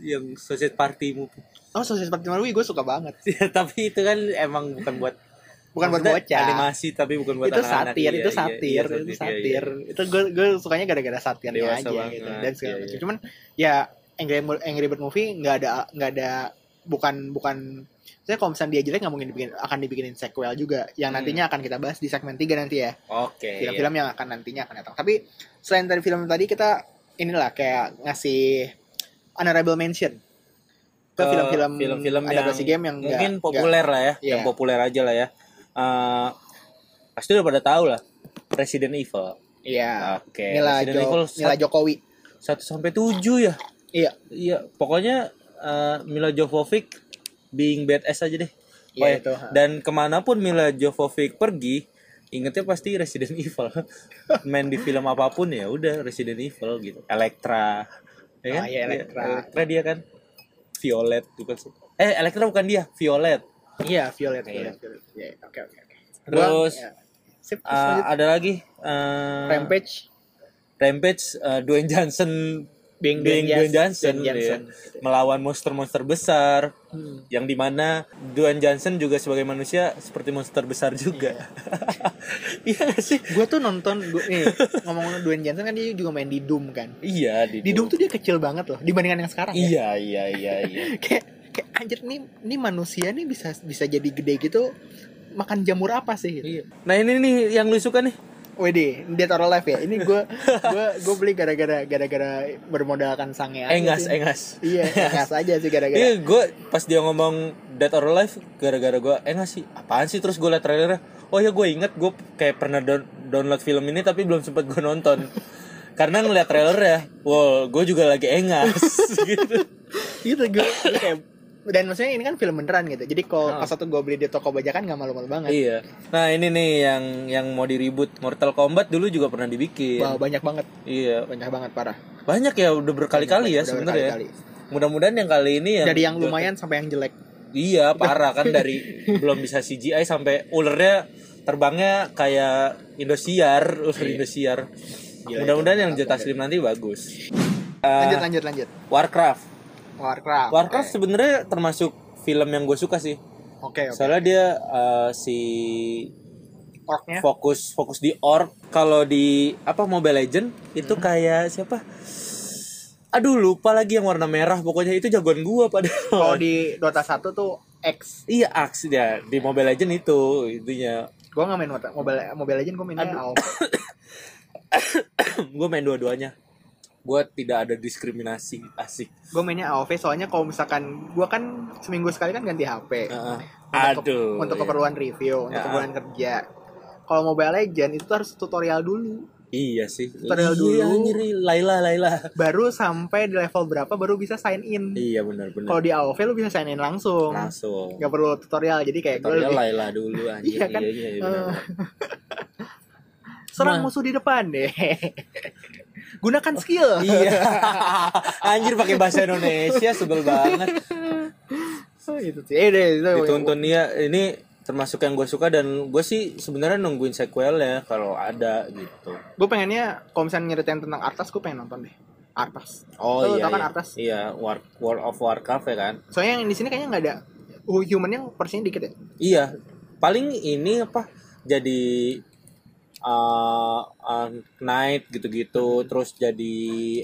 [SPEAKER 2] yang sausage party movie.
[SPEAKER 1] oh sosial seperti Malu gue suka banget
[SPEAKER 2] Ya, *laughs* tapi itu kan emang bukan buat
[SPEAKER 1] bukan buat
[SPEAKER 2] maksudnya
[SPEAKER 1] bocah
[SPEAKER 2] Animasi tapi bukan buat
[SPEAKER 1] itu
[SPEAKER 2] anak-anak.
[SPEAKER 1] satir,
[SPEAKER 2] Iya,
[SPEAKER 1] itu
[SPEAKER 2] iya,
[SPEAKER 1] satir,
[SPEAKER 2] iya,
[SPEAKER 1] itu
[SPEAKER 2] iya, iya.
[SPEAKER 1] satir. Itu gue gue sukanya gara-gara satirnya
[SPEAKER 2] Dewasa
[SPEAKER 1] aja
[SPEAKER 2] banget,
[SPEAKER 1] gitu. Dan segala
[SPEAKER 2] iya,
[SPEAKER 1] macam.
[SPEAKER 2] iya.
[SPEAKER 1] Cuman ya Angry Angry Bird movie nggak ada nggak ada bukan bukan Saya kalau misalnya dia jelek nggak mungkin dibikin, akan dibikinin sequel juga
[SPEAKER 2] Hmm.
[SPEAKER 1] yang nantinya akan kita bahas di segmen 3 nanti ya.
[SPEAKER 2] Oke.
[SPEAKER 1] Film-film yang akan nantinya akan datang. Tapi selain dari film tadi kita inilah kayak ngasih honorable mention ke
[SPEAKER 2] Eh,
[SPEAKER 1] film-film
[SPEAKER 2] film-film
[SPEAKER 1] adaptasi
[SPEAKER 2] yang
[SPEAKER 1] game yang nggak-
[SPEAKER 2] mungkin
[SPEAKER 1] nggak-
[SPEAKER 2] populer lah ya,
[SPEAKER 1] Iya.
[SPEAKER 2] yang populer aja lah ya. Eh, pasti udah pada tahu lah. Resident Evil.
[SPEAKER 1] Iya.
[SPEAKER 2] Oke,
[SPEAKER 1] Nila,
[SPEAKER 2] Resident
[SPEAKER 1] Jo-
[SPEAKER 2] Evil
[SPEAKER 1] Nila
[SPEAKER 2] sat-
[SPEAKER 1] Jokowi.
[SPEAKER 2] 1 sampai 7 ya.
[SPEAKER 1] Iya.
[SPEAKER 2] Iya, pokoknya eh, Mila Jovovich being badass aja deh.
[SPEAKER 1] Iya,
[SPEAKER 2] Oh ya,
[SPEAKER 1] itu, ha.
[SPEAKER 2] Dan kemanapun Mila Jovovich pergi, ingetnya pasti Resident Evil. *laughs* Main di film apapun ya udah Resident Evil gitu. Elektra,
[SPEAKER 1] Ah,
[SPEAKER 2] ya
[SPEAKER 1] iya, Elektra.
[SPEAKER 2] Elektra dia kan. Violet bukan sih. Eh, Elektra bukan dia, Violet.
[SPEAKER 1] Iya, Violet.
[SPEAKER 2] Iya.
[SPEAKER 1] Violet, Violet. Iya, oke oke oke.
[SPEAKER 2] Terus,
[SPEAKER 1] Gua- ya. Sip, terus
[SPEAKER 2] Eh,
[SPEAKER 1] lanjut.
[SPEAKER 2] ada lagi eh,
[SPEAKER 1] Rampage
[SPEAKER 2] Rampage eh, Dwayne Johnson
[SPEAKER 1] Being Dwayne
[SPEAKER 2] Dwayne, Dwayne
[SPEAKER 1] Johnson.
[SPEAKER 2] Johnson,
[SPEAKER 1] Dwayne Johnson,
[SPEAKER 2] ya, Hmm.
[SPEAKER 1] gitu.
[SPEAKER 2] melawan monster-monster besar yang dimana Dwayne Johnson juga sebagai manusia seperti monster besar juga *laughs* iya nggak sih
[SPEAKER 1] gue tuh nonton ya. gua, nih *laughs* ngomong Dwayne Johnson kan dia juga main di Doom kan
[SPEAKER 2] iya
[SPEAKER 1] di Doom tuh dia kecil banget loh dibandingkan yang sekarang ya.
[SPEAKER 2] iya iya iya iya
[SPEAKER 1] kayak kayak anjir nih nih manusia nih bisa bisa jadi gede gitu makan jamur apa sih gitu.
[SPEAKER 2] nah ini nih yang lu suka nih
[SPEAKER 1] WD, Dead or Alive ya. Ini gue gua gue beli gara-gara gara-gara bermodalkan sange aja
[SPEAKER 2] engas
[SPEAKER 1] sih.
[SPEAKER 2] engas
[SPEAKER 1] Iya, engas aja sih gara-gara.
[SPEAKER 2] Iya, gue pas dia ngomong Dead or Alive gara-gara gue engas sih apaan sih terus gue liat trailernya oh ya gue inget gue kayak pernah down- download film ini tapi belum sempet gue nonton *laughs* karena ngeliat trailernya wow gue juga lagi engas *laughs* gitu
[SPEAKER 1] gitu gue kayak dan maksudnya ini kan film beneran gitu jadi kalau pas satu gue beli di toko bajakan nggak malu-malu banget
[SPEAKER 2] Ah. Iya. Nah ini nih yang yang mau diribut Mortal Kombat dulu juga pernah dibikin.
[SPEAKER 1] Wah, banyak banget
[SPEAKER 2] Iya.
[SPEAKER 1] banyak banget parah
[SPEAKER 2] Banyak ya udah berkali-kali
[SPEAKER 1] Udah
[SPEAKER 2] ya Iya. sebenarnya.
[SPEAKER 1] berkali-kali.
[SPEAKER 2] Mudah-mudahan yang kali ini yang
[SPEAKER 1] dari yang lumayan sampai yang jelek
[SPEAKER 2] Iya parah kan dari belum bisa CGI sampai ulernya terbangnya kayak Indosiar,
[SPEAKER 1] Iya.
[SPEAKER 2] ular Indosiar. Mudah-mudahan yang Jeta Slim nanti bagus. Eh,
[SPEAKER 1] lanjut lanjut lanjut
[SPEAKER 2] Warcraft.
[SPEAKER 1] Warcraft Eh,
[SPEAKER 2] Ah. Warcraft sebenarnya termasuk film yang gue suka sih.
[SPEAKER 1] oke Iya, oke
[SPEAKER 2] Soalnya dia eh, si
[SPEAKER 1] orknya
[SPEAKER 2] fokus fokus di org kalau di apa Mobile Legend itu
[SPEAKER 1] Hmm.
[SPEAKER 2] kayak siapa aduh lupa lagi yang warna merah pokoknya itu jagoan gua padahal
[SPEAKER 1] kalau di Dota 1 tuh X
[SPEAKER 2] iya aksi dia di Mobile Legend itu itunya
[SPEAKER 1] gue nggak main Dota Mobile Mobile Legend gue mainnya AoE
[SPEAKER 2] gua main dua-duanya gua tidak ada diskriminasi asik
[SPEAKER 1] gue mainnya AoV soalnya kalau misalkan gue kan seminggu sekali kan ganti HP
[SPEAKER 2] Heeh.
[SPEAKER 1] Untuk-
[SPEAKER 2] Ah. aduh
[SPEAKER 1] untuk
[SPEAKER 2] iya.
[SPEAKER 1] keperluan review untuk
[SPEAKER 2] Ya.
[SPEAKER 1] keperluan kerja kalau Mobile Legend itu tuh harus tutorial dulu
[SPEAKER 2] iya sih
[SPEAKER 1] Tutorial
[SPEAKER 2] Iya,
[SPEAKER 1] dulu.
[SPEAKER 2] anjir, Laila Laila
[SPEAKER 1] baru sampai di level berapa baru bisa sign in
[SPEAKER 2] iya benar-benar
[SPEAKER 1] kalau di AOV lu bisa sign in langsung
[SPEAKER 2] langsung
[SPEAKER 1] nggak perlu tutorial jadi kayak gue
[SPEAKER 2] tutorial
[SPEAKER 1] lebih
[SPEAKER 2] Laila dulu
[SPEAKER 1] *laughs*
[SPEAKER 2] anjir
[SPEAKER 1] Iya kan?
[SPEAKER 2] iya iya, iya, benar-benar.
[SPEAKER 1] serang
[SPEAKER 2] Nah.
[SPEAKER 1] musuh di depan deh *laughs* gunakan skill *laughs*
[SPEAKER 2] iya *laughs* anjir pakai bahasa Indonesia sebel
[SPEAKER 1] *laughs*
[SPEAKER 2] banget
[SPEAKER 1] Iya, Oh, gitu sih eh, deh, itu
[SPEAKER 2] dituntun dia ini termasuk yang gue suka dan gue sih sebenarnya nungguin sequelnya kalau ada gitu
[SPEAKER 1] gue pengennya kalau misalnya nyeritain tentang Artas gue pengen nonton deh Artas
[SPEAKER 2] oh
[SPEAKER 1] Lu
[SPEAKER 2] iya
[SPEAKER 1] tau kan
[SPEAKER 2] iya.
[SPEAKER 1] Artas?
[SPEAKER 2] iya War, World of Warcraft ya kan
[SPEAKER 1] soalnya yang di sini kayaknya nggak ada hu- humannya persisnya dikit ya
[SPEAKER 2] iya paling ini apa jadi eh, eh, knight gitu-gitu terus jadi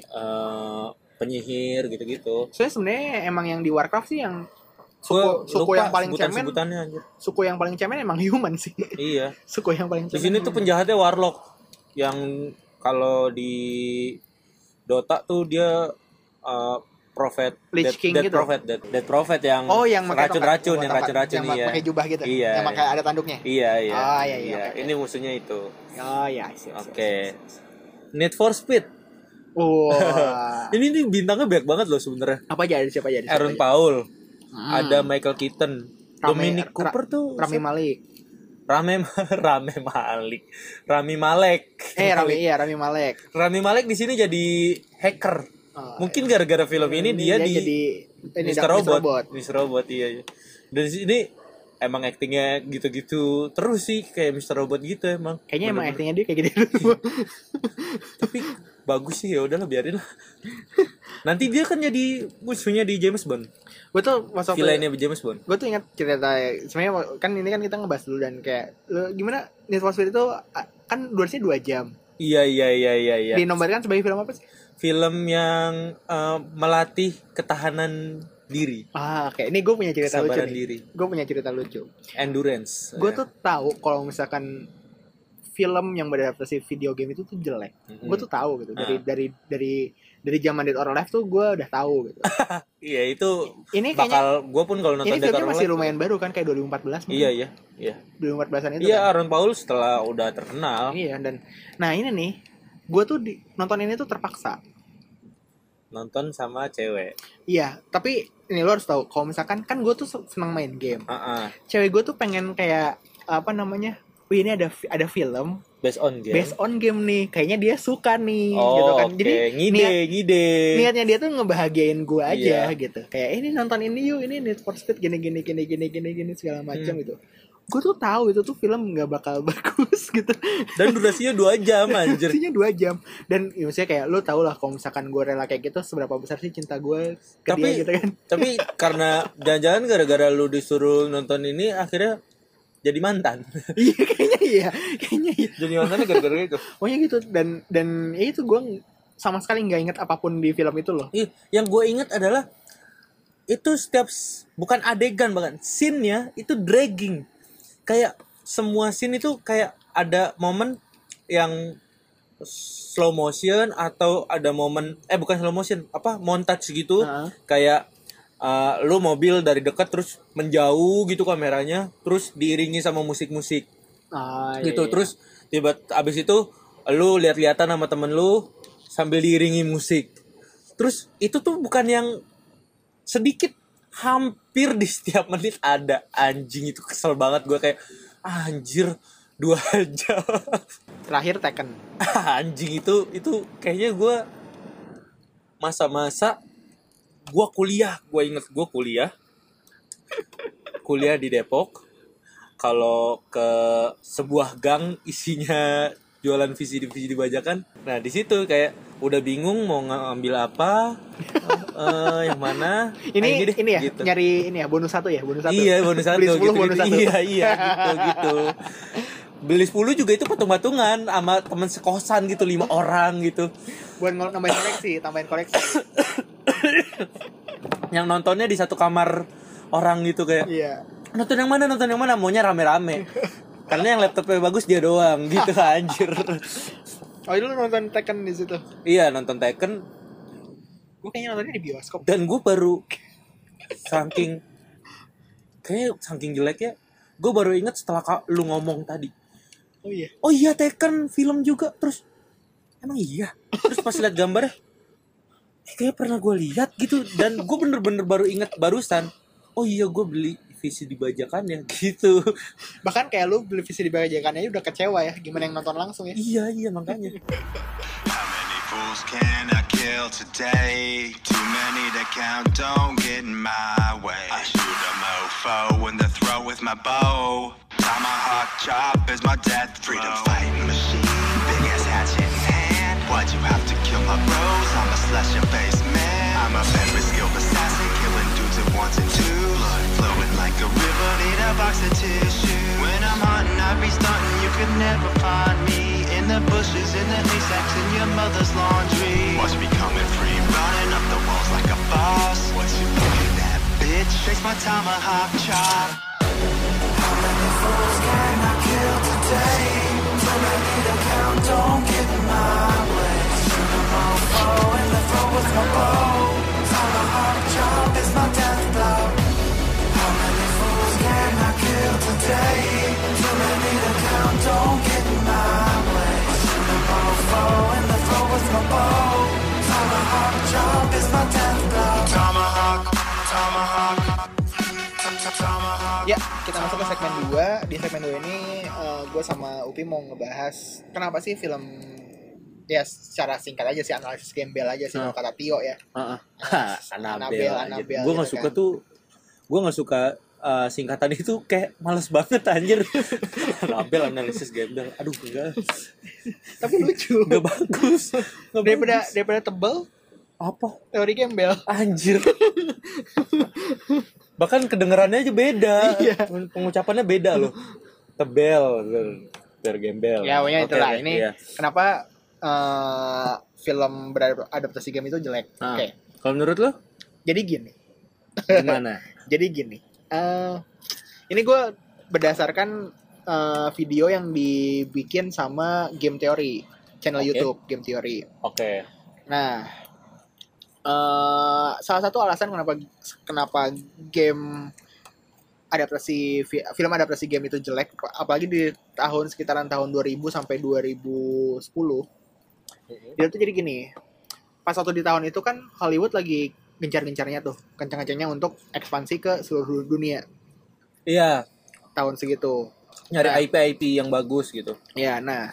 [SPEAKER 2] eh, penyihir gitu-gitu
[SPEAKER 1] soalnya sebenarnya emang yang di Warcraft sih yang suku
[SPEAKER 2] Gua
[SPEAKER 1] suku
[SPEAKER 2] lupa
[SPEAKER 1] yang paling cemen
[SPEAKER 2] sebutan-sebutannya anjir
[SPEAKER 1] suku yang paling cemen emang *laughs* human sih
[SPEAKER 2] iya
[SPEAKER 1] suku yang paling
[SPEAKER 2] Di
[SPEAKER 1] cemen
[SPEAKER 2] sini tuh penjahatnya warlock yang kalau di Dota tuh dia uh, prophet
[SPEAKER 1] Lich
[SPEAKER 2] dead,
[SPEAKER 1] King
[SPEAKER 2] dead
[SPEAKER 1] gitu.
[SPEAKER 2] prophet dead, dead prophet yang
[SPEAKER 1] oh yang pakai
[SPEAKER 2] racun
[SPEAKER 1] tongkat,
[SPEAKER 2] racun yang
[SPEAKER 1] tongkat,
[SPEAKER 2] racun racun
[SPEAKER 1] yang
[SPEAKER 2] iya
[SPEAKER 1] pakai jubah gitu
[SPEAKER 2] iya
[SPEAKER 1] yang pakai ada tanduknya
[SPEAKER 2] iya iya
[SPEAKER 1] Ah, iya, iya, oke,
[SPEAKER 2] ini musuhnya itu
[SPEAKER 1] oh ya sih
[SPEAKER 2] oke Need for Speed
[SPEAKER 1] wah
[SPEAKER 2] ini nih bintangnya banyak banget loh sebenarnya
[SPEAKER 1] apa aja ada siapa aja ada siapa
[SPEAKER 2] Aaron
[SPEAKER 1] aja?
[SPEAKER 2] Paul ada Michael Keaton Dominic
[SPEAKER 1] Hmm. Ra-
[SPEAKER 2] Cooper tuh
[SPEAKER 1] Rami Malik
[SPEAKER 2] Rame *laughs* Rame Malik Rami Malek
[SPEAKER 1] eh Rami iya Rami Malek
[SPEAKER 2] Rami Malek di sini jadi hacker.
[SPEAKER 1] Oh, Iya,
[SPEAKER 2] Mungkin gara-gara film ini dia, di
[SPEAKER 1] jadi ini
[SPEAKER 2] Mr. Robot. Mr. Robot iya. iya. Dan di sini emang aktingnya gitu-gitu terus sih kayak Mr. Robot gitu emang.
[SPEAKER 1] kayaknya emang
[SPEAKER 2] Bener-bener.
[SPEAKER 1] aktingnya dia kayak *laughs* gitu
[SPEAKER 2] tapi bagus sih ya udahlah biarin
[SPEAKER 1] *laughs*
[SPEAKER 2] lah. Nanti dia kan jadi musuhnya di James Bond.
[SPEAKER 1] gue tuh masuk
[SPEAKER 2] Villainnya di James Bond.
[SPEAKER 1] gue tuh ingat cerita sebenarnya wa- kan ini kan kita ngebahas dulu dan kayak lu- gimana Need for Speed itu ah, kan durasinya dua jam
[SPEAKER 2] Iya iya iya iya iya.
[SPEAKER 1] dinomorkan sebagai film apa sih
[SPEAKER 2] Film yang eh, melatih ketahanan diri,
[SPEAKER 1] Ah, oke. Ini gue punya cerita
[SPEAKER 2] kesabaran
[SPEAKER 1] lucu.
[SPEAKER 2] diri, Oh, iya.
[SPEAKER 1] Gue punya cerita lucu.
[SPEAKER 2] endurance. ya.
[SPEAKER 1] Gue tuh tahu kalau misalkan film yang beradaptasi video game itu tuh jelek.
[SPEAKER 2] Mm-mm.
[SPEAKER 1] Gue tuh tahu gitu. Dari
[SPEAKER 2] Ah.
[SPEAKER 1] dari dari dari zaman Dead or Alive tuh gue udah tahu gitu.
[SPEAKER 2] iya itu
[SPEAKER 1] Ini kayaknya
[SPEAKER 2] bakal gue pun kalau nonton
[SPEAKER 1] ini
[SPEAKER 2] Dead
[SPEAKER 1] filmnya
[SPEAKER 2] or
[SPEAKER 1] masih
[SPEAKER 2] Alive-
[SPEAKER 1] lumayan baru kan kayak 2014 mungkin.
[SPEAKER 2] Iya iya iya.
[SPEAKER 1] 2014an itu.
[SPEAKER 2] Iya
[SPEAKER 1] kan.
[SPEAKER 2] Aaron Paul setelah udah terkenal
[SPEAKER 1] Iya dan nah ini nih gue tuh di, nonton ini tuh terpaksa.
[SPEAKER 2] nonton sama cewek.
[SPEAKER 1] Iya, tapi ini lo harus tahu kalau misalkan kan gue tuh senang main game.
[SPEAKER 2] Ah, ah.
[SPEAKER 1] Cewek gue tuh pengen kayak apa namanya? Wih, ini ada fi- ada film
[SPEAKER 2] based on game.
[SPEAKER 1] based on game nih kayaknya dia suka nih
[SPEAKER 2] Iya. oh,
[SPEAKER 1] gitu kan
[SPEAKER 2] oke.
[SPEAKER 1] jadi
[SPEAKER 2] ngide
[SPEAKER 1] niat-
[SPEAKER 2] ngide.
[SPEAKER 1] niatnya dia tuh ngebahagiain gue aja
[SPEAKER 2] Iya.
[SPEAKER 1] gitu kayak "Eh, ini nonton ini yuk ini Need for Speed gini gini gini gini gini gini segala macam
[SPEAKER 2] Hmm.
[SPEAKER 1] gitu gue tuh tahu itu tuh film nggak bakal *laughs* bagus gitu
[SPEAKER 2] Dan durasinya dua jam
[SPEAKER 1] *laughs*
[SPEAKER 2] anjir.
[SPEAKER 1] Durasinya dua jam dan ya, maksudnya kayak lo tau lah kalau misalkan gue rela kayak gitu seberapa besar sih cinta gue ke
[SPEAKER 2] Tapi-
[SPEAKER 1] dia gitu
[SPEAKER 2] *laughs*
[SPEAKER 1] kan
[SPEAKER 2] Tapi karena jangan-jangan gara-gara lu disuruh nonton ini akhirnya jadi
[SPEAKER 1] *laughs*
[SPEAKER 2] mantan.
[SPEAKER 1] iya kayaknya iya kayaknya iya
[SPEAKER 2] jadi mantannya gara-gara itu.
[SPEAKER 1] pokoknya gitu dan dan ya itu gue sama sekali nggak inget apapun di film itu loh
[SPEAKER 2] Ih, Iya, yang gue inget adalah itu setiap s- bukan adegan bahkan scene-nya itu dragging. Kayak semua scene itu kayak ada momen yang slow motion atau ada momen eh bukan slow motion, apa montage gitu
[SPEAKER 1] Heeh.
[SPEAKER 2] kayak uh, lu mobil dari dekat terus menjauh gitu kameranya, terus diiringi sama musik-musik
[SPEAKER 1] Ah, iya,
[SPEAKER 2] gitu.
[SPEAKER 1] iya.
[SPEAKER 2] Terus tiba abis itu lu lihat-lihatan sama temen lu sambil diiringi musik. Terus itu tuh bukan yang sedikit hampir di setiap menit ada anjing itu kesel banget gue kayak "Ah, anjir dua *laughs* jam
[SPEAKER 1] terakhir Tekken
[SPEAKER 2] *laughs* anjing itu itu kayaknya gue masa-masa gue kuliah gue inget gue kuliah kuliah di Depok kalau ke sebuah gang isinya jualan visi divisi dibajakan nah di situ kayak udah bingung mau ngambil
[SPEAKER 1] *laughs*
[SPEAKER 2] apa eh, yang mana Nah,
[SPEAKER 1] ini ini,
[SPEAKER 2] deh,
[SPEAKER 1] ya
[SPEAKER 2] gitu.
[SPEAKER 1] nyari ini ya bonus satu ya bonus satu
[SPEAKER 2] Iya bonus satu
[SPEAKER 1] beli 10
[SPEAKER 2] gitu,
[SPEAKER 1] bonus
[SPEAKER 2] gitu.
[SPEAKER 1] satu
[SPEAKER 2] Iya iya gitu gitu Beli 10 juga itu patung-patungan Sama temen sekosan gitu lima orang gitu
[SPEAKER 1] buat ngol- nambahin koleksi tambahin koleksi
[SPEAKER 2] Yang nontonnya di satu kamar orang gitu kayak
[SPEAKER 1] iya
[SPEAKER 2] Nonton yang mana nonton yang mana Maunya rame-rame Karena yang laptopnya bagus dia doang gitu *laughs* anjir
[SPEAKER 1] oh itu lu nonton Tekken di situ
[SPEAKER 2] Iya nonton Tekken
[SPEAKER 1] gue kayaknya nontonnya di bioskop
[SPEAKER 2] Dan gue baru Saking Kayaknya saking jeleknya Gue baru inget setelah ka- lu ngomong tadi
[SPEAKER 1] oh iya
[SPEAKER 2] oh iya Tekken film juga terus emang iya terus pas lihat gambarnya eh, kayak pernah gue lihat gitu dan gue bener-bener baru inget barusan oh iya gue beli visi dibajakan ya *laughs* gitu
[SPEAKER 1] bahkan kayak lu beli visi di bajakan aja udah kecewa ya gimana yang nonton langsung ya
[SPEAKER 2] iya iya makanya
[SPEAKER 4] How many fools can I kill today? Too many to count, don't get in my way. I shoot a mofo in the throat with my bow. Tomahawk chop is my death Freedom fighting machine, big ass hatchet in hand. Why'd you have to kill my bros? I'm a slasher face man. I'm a very skilled assassin, killing dudes at once and twos. Blood flowing like a river, need a box of tissue. When I'm hunting, I be stunting, you could never find me. In the bushes, in the haystacks, in your mother's laundry. Watch me coming free, running up the walls like a boss. What you looking at, bitch? Chase my tomahawk chop. Tomahawk, tomahawk, tomahawk.
[SPEAKER 1] ya kita masuk ke segmen 2 di segmen 2 ini gue sama Upi mau ngebahas kenapa sih film ya secara singkat aja sih analisis gembel aja sih kalau kata Tio ya
[SPEAKER 2] *laughs* Hah,
[SPEAKER 1] Anabel, Anabel
[SPEAKER 2] gue nggak
[SPEAKER 1] gitu
[SPEAKER 2] suka
[SPEAKER 1] kan.
[SPEAKER 2] tuh gue nggak suka uh, singkatan itu kayak males banget
[SPEAKER 1] *laughs*
[SPEAKER 2] anjir Anabel analisis gembel aduh enggak
[SPEAKER 1] tapi lucu
[SPEAKER 2] enggak bagus Nggak
[SPEAKER 1] *laughs* daripada
[SPEAKER 2] bagus.
[SPEAKER 1] daripada tebel
[SPEAKER 2] apa
[SPEAKER 1] teori gembel
[SPEAKER 2] Anjir. Bahkan kedengerannya aja beda.
[SPEAKER 1] Iya.
[SPEAKER 2] Pengucapannya beda loh. Tebel, tergembel.
[SPEAKER 1] Ya, pokoknya
[SPEAKER 2] Oke,
[SPEAKER 1] itulah.
[SPEAKER 2] oke,
[SPEAKER 1] Ini
[SPEAKER 2] iya.
[SPEAKER 1] kenapa eh, film beradaptasi game itu jelek.
[SPEAKER 2] Ah.
[SPEAKER 1] Oke.
[SPEAKER 2] Kalau menurut lo?
[SPEAKER 1] Jadi gini.
[SPEAKER 2] Gimana?
[SPEAKER 1] Jadi gini, eh, ini gue berdasarkan eh, video yang dibikin sama Game Theory channel
[SPEAKER 2] Oke.
[SPEAKER 1] YouTube Game Theory.
[SPEAKER 2] *laughs* Oke.
[SPEAKER 1] Nah, eh salah satu alasan kenapa kenapa game adaptasi fi- film adaptasi game itu jelek, apalagi di tahun sekitaran tahun 2000 sampai 2010, itu tuh jadi gini. Pas waktu di tahun itu kan Hollywood lagi gencar-gencarnya tuh, kencang-kencangnya untuk ekspansi ke seluruh dunia
[SPEAKER 2] Iya,
[SPEAKER 1] tahun segitu.
[SPEAKER 2] nyari IP IP yang bagus gitu.
[SPEAKER 1] Ya, nah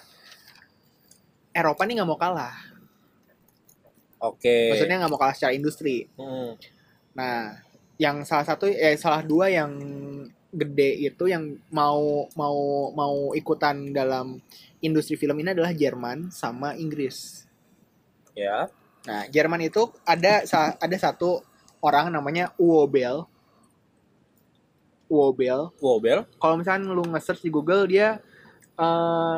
[SPEAKER 1] Eropa nih nggak mau kalah,
[SPEAKER 2] Oke.
[SPEAKER 1] maksudnya nggak mau kalah secara industri.
[SPEAKER 2] Hmm.
[SPEAKER 1] Nah, yang salah satu eh salah dua yang gede itu yang mau mau mau ikutan dalam industri film ini adalah Jerman sama Inggris.
[SPEAKER 2] Ya.
[SPEAKER 1] Nah, Jerman itu ada sa- ada satu orang namanya Uwe Boll. Uwe Boll.
[SPEAKER 2] Wobel.
[SPEAKER 1] Kalau misalnya lu nge-search di Google dia eh,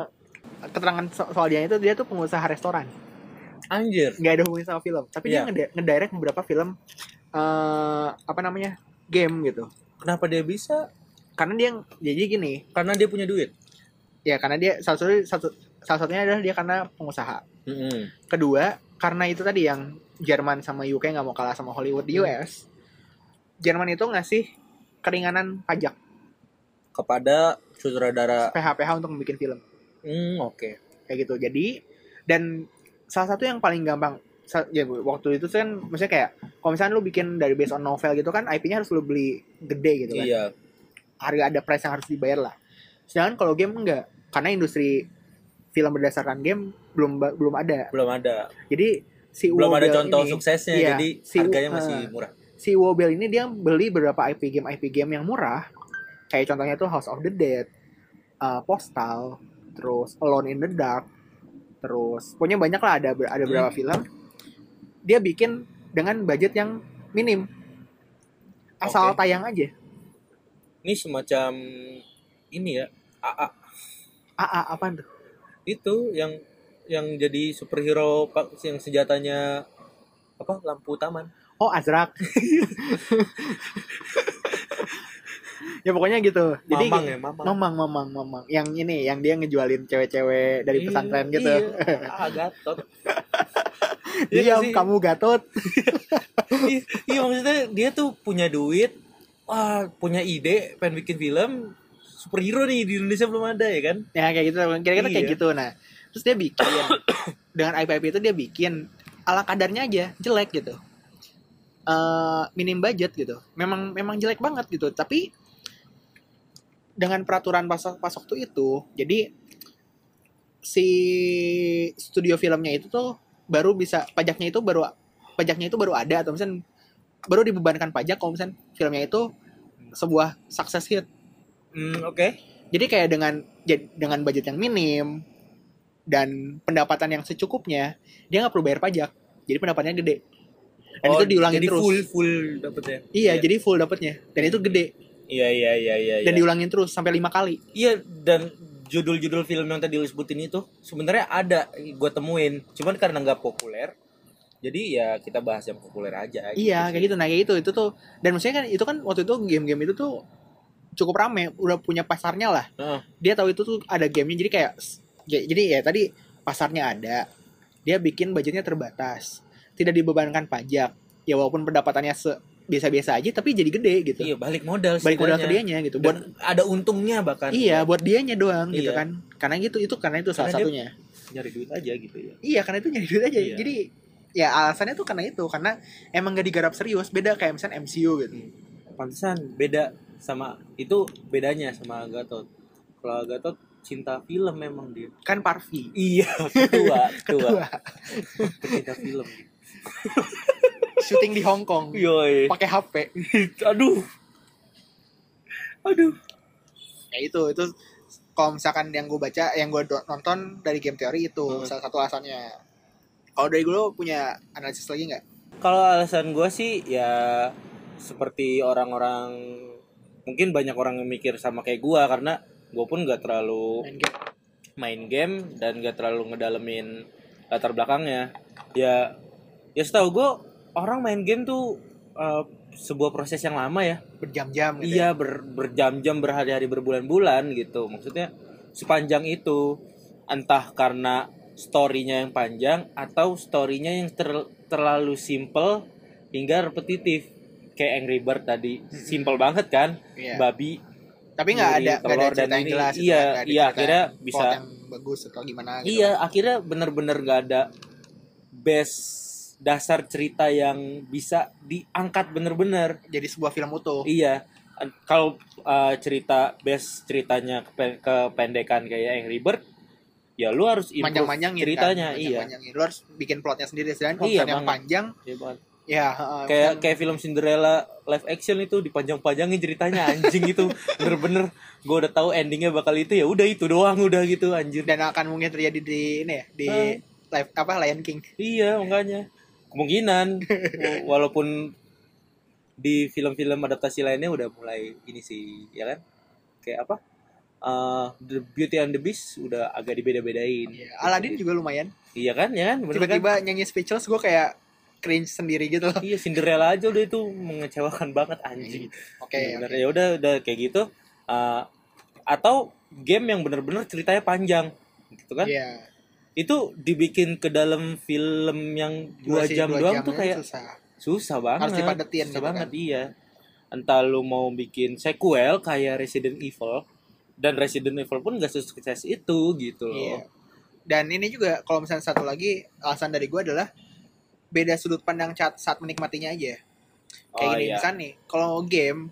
[SPEAKER 1] keterangan so- soal dia itu dia tuh pengusaha restoran.
[SPEAKER 2] Anjir.
[SPEAKER 1] Nggak ada hubungannya sama film, tapi
[SPEAKER 2] Iya.
[SPEAKER 1] dia ngede- ngedirect beberapa film eh apa namanya? game gitu.
[SPEAKER 2] Kenapa dia bisa?
[SPEAKER 1] karena dia jadi gini
[SPEAKER 2] Karena dia punya duit.
[SPEAKER 1] ya karena dia salah satu satu salah satunya adalah dia karena pengusaha
[SPEAKER 2] Hmm.
[SPEAKER 1] kedua karena itu tadi yang Jerman sama UK nggak mau kalah sama Hollywood di US Jerman itu ngasih keringanan pajak
[SPEAKER 2] Kepada sutradara.
[SPEAKER 1] PH PH untuk membuat film
[SPEAKER 2] Hmm, oke.
[SPEAKER 1] kayak gitu jadi dan salah satu yang paling gampang sa- ya bu- waktu itu tuh kan maksudnya kayak kalau misalnya lu bikin dari based on novel gitu kan IP-nya harus lu beli gede gitu kan
[SPEAKER 2] Iya.
[SPEAKER 1] harga ada price yang harus dibayar lah. Sedangkan kalau game enggak, karena industri film berdasarkan game belum ba- belum ada.
[SPEAKER 2] Belum ada.
[SPEAKER 1] Jadi si
[SPEAKER 2] Belum ada
[SPEAKER 1] Wobel
[SPEAKER 2] contoh
[SPEAKER 1] ini,
[SPEAKER 2] suksesnya
[SPEAKER 1] iya,
[SPEAKER 2] jadi
[SPEAKER 1] si U-
[SPEAKER 2] harganya masih
[SPEAKER 1] eh,
[SPEAKER 2] murah.
[SPEAKER 1] si Wobel ini dia beli beberapa IP game IP game yang murah. Kayak contohnya tuh House of the Dead, eh, Postal, terus Alone in the Dark, terus pokoknya banyak lah ada
[SPEAKER 2] Hmm.
[SPEAKER 1] ada beberapa film. Dia bikin dengan budget yang minim. Asal
[SPEAKER 2] Oke.
[SPEAKER 1] tayang aja.
[SPEAKER 2] Ini semacam ini ya. AA
[SPEAKER 1] AA apaan tuh?
[SPEAKER 2] itu yang yang jadi superhero pak- yang senjatanya apa lampu taman
[SPEAKER 1] Oh Azrak. ya pokoknya gitu. Jadi
[SPEAKER 2] mamang ya mamang
[SPEAKER 1] Mamang, mamang, mamang. Yang ini, yang dia ngejualin cewek-cewek dari
[SPEAKER 2] Iya,
[SPEAKER 1] pesantren gitu.
[SPEAKER 2] iya. ah
[SPEAKER 1] *laughs*
[SPEAKER 2] gatot Iya
[SPEAKER 1] Diam
[SPEAKER 2] sih.
[SPEAKER 1] kamu Gatot.
[SPEAKER 2] Iya, iya maksudnya dia tuh punya duit wah punya ide pengen bikin film superhero nih di Indonesia belum ada ya kan
[SPEAKER 1] Ya kayak gitu, kira-kira kayak
[SPEAKER 2] Iya.
[SPEAKER 1] gitu. Nah, terus dia bikin *coughs* dengan IP-IP itu dia bikin ala kadarnya aja, jelek gitu. Eh, minim budget gitu. Memang memang jelek banget gitu, tapi dengan peraturan pas, pas waktu itu, jadi si studio filmnya itu tuh baru bisa pajaknya itu baru pajaknya itu baru ada atau misalnya baru dibebankan pajak kalau misalnya filmnya itu sebuah gitu. success hit
[SPEAKER 2] Hmm, oke
[SPEAKER 1] jadi kayak dengan jad- dengan budget yang minim dan pendapatan yang secukupnya, dia nggak perlu bayar pajak. Jadi pendapatannya gede. Dan itu diulangin
[SPEAKER 2] Oh, jadi
[SPEAKER 1] terus.
[SPEAKER 2] full full dapetnya
[SPEAKER 1] Iya,
[SPEAKER 2] iya
[SPEAKER 1] jadi full dapatnya. Dan itu gede.
[SPEAKER 2] iya iya iya iya
[SPEAKER 1] Dan
[SPEAKER 2] iya.
[SPEAKER 1] diulangin terus sampai lima kali.
[SPEAKER 2] Iya, dan judul-judul film yang tadi lu sebutin itu sebenarnya ada gue temuin cuman karena nggak populer jadi ya kita bahas yang populer aja
[SPEAKER 1] Iya, kayak gitu. Nah, kayak gitu. Itu tuh. Dan maksudnya kan itu kan waktu itu game-game itu tuh cukup rame, udah punya pasarnya lah.
[SPEAKER 2] Heeh.
[SPEAKER 1] Dia tahu itu tuh ada gamenya. Jadi kayak j- jadi ya tadi pasarnya ada. Dia bikin budgetnya terbatas. Tidak dibebankan pajak. Ya walaupun pendapatannya se biasa-biasa aja tapi jadi gede gitu.
[SPEAKER 2] iya balik modal
[SPEAKER 1] balik modal ke
[SPEAKER 2] setidaknya.
[SPEAKER 1] dianya gitu
[SPEAKER 2] Dan
[SPEAKER 1] buat
[SPEAKER 2] ada untungnya bahkan
[SPEAKER 1] iya buat dianya doang gitu
[SPEAKER 2] Iya.
[SPEAKER 1] kan karena gitu itu karena itu salah
[SPEAKER 2] Karena dia-
[SPEAKER 1] satunya
[SPEAKER 2] nyari duit aja gitu ya
[SPEAKER 1] iya karena itu nyari duit aja
[SPEAKER 2] Iya.
[SPEAKER 1] jadi ya alasannya tuh karena itu karena emang gak digarap serius beda kayak misalnya MCU gitu
[SPEAKER 2] pantesan beda sama itu bedanya sama Gatot kalau Gatot cinta film memang dia
[SPEAKER 1] kan Parvi
[SPEAKER 2] iya *laughs* ketua
[SPEAKER 1] *laughs* Ketua.
[SPEAKER 2] ketua pecinta film
[SPEAKER 1] syuting di Hong Kong
[SPEAKER 2] yoi
[SPEAKER 1] pakai HP
[SPEAKER 2] aduh aduh
[SPEAKER 1] ya itu itu kalau misalkan yang gue baca yang gue nonton dari game teori itu
[SPEAKER 2] Hmm.
[SPEAKER 1] salah satu alasannya kalau dari gue lo punya analisis lagi nggak
[SPEAKER 2] Kalau alasan gue sih ya seperti orang-orang mungkin banyak orang yang mikir sama kayak gue karena gue pun gak terlalu
[SPEAKER 1] main game
[SPEAKER 2] main game dan gak terlalu ngedalemin latar belakangnya. Ya ya setahu gue orang main game tuh eh, sebuah proses yang lama ya.
[SPEAKER 1] berjam-jam gitu
[SPEAKER 2] Iya ber- berjam-jam berhari-hari berbulan-bulan gitu. Maksudnya sepanjang itu entah karena storynya yang panjang atau storynya yang ter- terlalu simple hingga repetitif kayak Angry Bird tadi simple banget kan
[SPEAKER 1] Iya.
[SPEAKER 2] babi
[SPEAKER 1] tapi nggak
[SPEAKER 2] nyuri
[SPEAKER 1] ada nggak ada
[SPEAKER 2] telur
[SPEAKER 1] cerita
[SPEAKER 2] dan
[SPEAKER 1] yang
[SPEAKER 2] ini.
[SPEAKER 1] jelas gitu
[SPEAKER 2] Iya,
[SPEAKER 1] kan, nggak ada
[SPEAKER 2] iya,
[SPEAKER 1] cerita
[SPEAKER 2] akhirnya
[SPEAKER 1] plot
[SPEAKER 2] bisa-
[SPEAKER 1] yang bagus atau gimana gitu
[SPEAKER 2] Iya, akhirnya bener-bener gak ada base dasar cerita yang bisa diangkat bener-bener.
[SPEAKER 1] jadi sebuah film utuh
[SPEAKER 2] Iya, an- kalau uh, cerita base ceritanya kepe- kependekan kayak Angry Bird, ya lu harus improve
[SPEAKER 1] panjang-panjangin
[SPEAKER 2] ceritanya.
[SPEAKER 1] kan?
[SPEAKER 2] iya,
[SPEAKER 1] panjangin lu harus bikin plotnya sendiri sedangkan kalau
[SPEAKER 2] Iya,
[SPEAKER 1] misalnya yang
[SPEAKER 2] banget.
[SPEAKER 1] panjang
[SPEAKER 2] Iya banget.
[SPEAKER 1] ya heeh,
[SPEAKER 2] Kayak
[SPEAKER 1] kan-
[SPEAKER 2] kayak film Cinderella live action itu dipanjang-panjangin ceritanya anjing itu bener-bener gue udah tahu endingnya bakal itu ya udah itu doang udah gitu anjir.
[SPEAKER 1] dan akan mungkin terjadi di ini ya di
[SPEAKER 2] Eh.
[SPEAKER 1] live apa Lion King
[SPEAKER 2] Iya makanya
[SPEAKER 1] *laughs*
[SPEAKER 2] kemungkinan W- walaupun di film-film adaptasi lainnya udah mulai ini sih ya kan kayak apa Eh, The Beauty and the Beast udah agak dibeda-bedain
[SPEAKER 1] Iya, Aladdin juga lumayan
[SPEAKER 2] iya kan ya kan Bener kan?
[SPEAKER 1] tiba-tiba nyanyi speechless gue kayak cringe sendiri gitu loh
[SPEAKER 2] iya Cinderella aja udah itu mengecewakan banget anjing
[SPEAKER 1] Iya, oke
[SPEAKER 2] bener ya udah udah kayak gitu Eh, atau game yang bener-bener ceritanya panjang gitu kan
[SPEAKER 1] Iya,
[SPEAKER 2] itu dibikin ke dalam film yang dua
[SPEAKER 1] sih,
[SPEAKER 2] jam doang tuh
[SPEAKER 1] aja
[SPEAKER 2] kayak
[SPEAKER 1] susah.
[SPEAKER 2] susah banget
[SPEAKER 1] Harus dipadetin
[SPEAKER 2] susah
[SPEAKER 1] gitu
[SPEAKER 2] banget iya entah lu mau bikin sequel kayak Resident Evil dan Resident Evil pun gak sukses itu gitu loh
[SPEAKER 1] Iya. Dan ini juga kalau misalnya satu lagi alasan dari gue adalah beda sudut pandang saat, saat menikmatinya aja. Kayak
[SPEAKER 2] Oh,
[SPEAKER 1] gini
[SPEAKER 2] iya.
[SPEAKER 1] misalnya nih, kalau game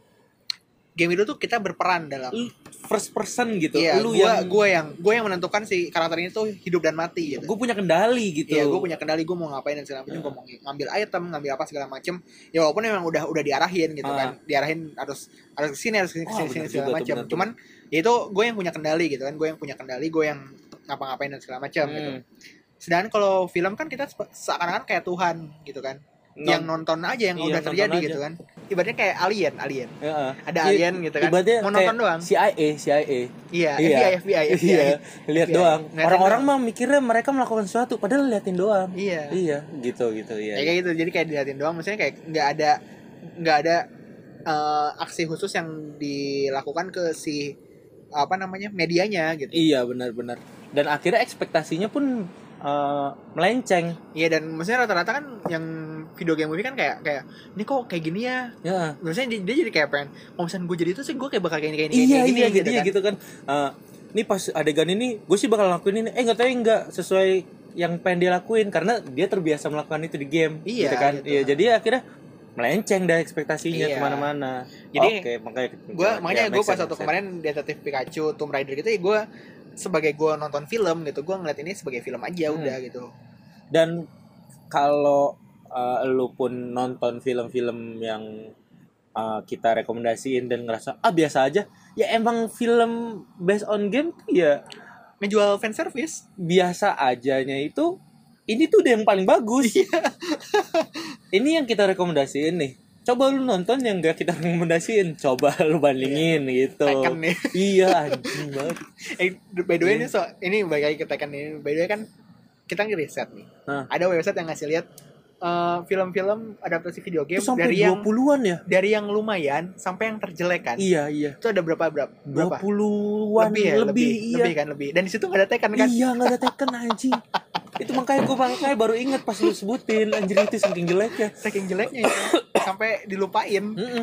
[SPEAKER 1] game itu tuh kita berperan dalam.
[SPEAKER 2] Lu first person gitu
[SPEAKER 1] Iya,
[SPEAKER 2] lu
[SPEAKER 1] gue yang
[SPEAKER 2] yang
[SPEAKER 1] gue yang gue yang menentukan si karakter ini tuh hidup dan mati gitu.
[SPEAKER 2] gue punya kendali gitu
[SPEAKER 1] Iya, gue punya kendali gue mau ngapain dan segala macam,
[SPEAKER 2] Nah.
[SPEAKER 1] gue mau ngambil item, ngambil apa segala macam. Ya walaupun memang udah udah diarahin gitu
[SPEAKER 2] Ah.
[SPEAKER 1] kan, diarahin harus harus kesini harus kesini
[SPEAKER 2] Wah,
[SPEAKER 1] kesini, kesini
[SPEAKER 2] bener
[SPEAKER 1] segala
[SPEAKER 2] juga tuh,
[SPEAKER 1] macam.
[SPEAKER 2] bener tuh.
[SPEAKER 1] Cuman ya itu gue yang punya kendali gitu kan, gue yang punya kendali, gue yang ngapa-ngapain dan segala macam gitu.
[SPEAKER 2] Hmm.
[SPEAKER 1] Sedangkan kalau film kan kita se- seakan-akan kayak Tuhan gitu kan,
[SPEAKER 2] Non-
[SPEAKER 1] yang nonton aja yang
[SPEAKER 2] Iya,
[SPEAKER 1] udah
[SPEAKER 2] nonton
[SPEAKER 1] terjadi
[SPEAKER 2] aja.
[SPEAKER 1] gitu kan. Ibaratnya kayak alien, alien.
[SPEAKER 2] Heeh.
[SPEAKER 1] Ada
[SPEAKER 2] Iya,
[SPEAKER 1] alien gitu kan.
[SPEAKER 2] ibaratnya
[SPEAKER 1] Mau nonton
[SPEAKER 2] kayak
[SPEAKER 1] doang.
[SPEAKER 2] CIA CIA
[SPEAKER 1] Iya,
[SPEAKER 2] Iya.
[SPEAKER 1] FBI, FBI, FBI.
[SPEAKER 2] *laughs* iya lihat
[SPEAKER 1] Iya,
[SPEAKER 2] doang
[SPEAKER 1] ngeliatin
[SPEAKER 2] orang-orang mah mikirnya mereka melakukan sesuatu padahal liatin doang
[SPEAKER 1] Iya.
[SPEAKER 2] iya gitu gitu
[SPEAKER 1] Ya,
[SPEAKER 2] iya
[SPEAKER 1] kayak gitu jadi kayak diliatin doang maksudnya kayak nggak ada nggak ada eh, aksi khusus yang dilakukan ke si apa namanya medianya gitu
[SPEAKER 2] iya benar-benar dan akhirnya ekspektasinya pun eh, melenceng
[SPEAKER 1] iya dan maksudnya rata-rata kan yang video game movie kan kayak kayak ini kok kayak gini ya
[SPEAKER 2] ya
[SPEAKER 1] maksudnya dia, dia jadi kayak pengen kalau misalnya gue jadi itu sih gue kayak bakal kayak ini kayak ini
[SPEAKER 2] iya
[SPEAKER 1] kayak gini
[SPEAKER 2] iya
[SPEAKER 1] gitu
[SPEAKER 2] jadinya
[SPEAKER 1] kan.
[SPEAKER 2] gitu kan Eh, ini pas adegan ini gue sih bakal lakuin ini eh nggak tahu nggak sesuai yang pengen dia lakuin karena dia terbiasa melakukan itu di game
[SPEAKER 1] Iya,
[SPEAKER 2] gitu kan
[SPEAKER 1] gitu.
[SPEAKER 2] iya jadi akhirnya melenceng dari ekspektasinya
[SPEAKER 1] Iya.
[SPEAKER 2] kemana-mana
[SPEAKER 1] Jadi,
[SPEAKER 2] Oke, makanya
[SPEAKER 1] gue makanya
[SPEAKER 2] ya,
[SPEAKER 1] gue pas
[SPEAKER 2] make sense,
[SPEAKER 1] waktu
[SPEAKER 2] make sense.
[SPEAKER 1] kemarin detektif Pikachu Tomb Raider gitu ya gue sebagai gue nonton film gitu gue ngeliat ini sebagai film aja
[SPEAKER 2] Hmm.
[SPEAKER 1] udah gitu
[SPEAKER 2] dan kalau eh, lu pun nonton film-film yang eh, kita rekomendasiin dan ngerasa ah biasa aja ya emang film based on game tuh ya
[SPEAKER 1] menjual fan service
[SPEAKER 2] biasa ajanya itu ini tuh udah yang paling bagus
[SPEAKER 1] Iya.
[SPEAKER 2] *laughs* ini yang kita rekomendasiin nih coba lu nonton yang gak kita rekomendasiin coba lu bandingin gitu
[SPEAKER 1] Tekken nih
[SPEAKER 2] iya anjing banget
[SPEAKER 1] Eh, by the way
[SPEAKER 2] Iya.
[SPEAKER 1] ini so ini balik lagi ke Tekken ini. By the way kan kita ngeriset nih.
[SPEAKER 2] Hah.
[SPEAKER 1] Ada website yang ngasih lihat eh, film-film adaptasi video game
[SPEAKER 2] itu sampai
[SPEAKER 1] Iya, dari yang
[SPEAKER 2] 20-an ya
[SPEAKER 1] dari yang lumayan sampai yang terjelek kan.
[SPEAKER 2] iya iya
[SPEAKER 1] Itu ada berapa berapa? berapa?
[SPEAKER 2] 20-an
[SPEAKER 1] lebih ya, lebih, lebih,
[SPEAKER 2] iya
[SPEAKER 1] kan lebih. Dan di situ nggak ada Tekken kan.
[SPEAKER 2] Iya nggak ada Tekken anjing Itu makanya gue makanya baru inget pas lu sebutin Anjir itu saking jeleknya
[SPEAKER 1] Saking jeleknya itu sampai dilupain.
[SPEAKER 2] Mm-mm.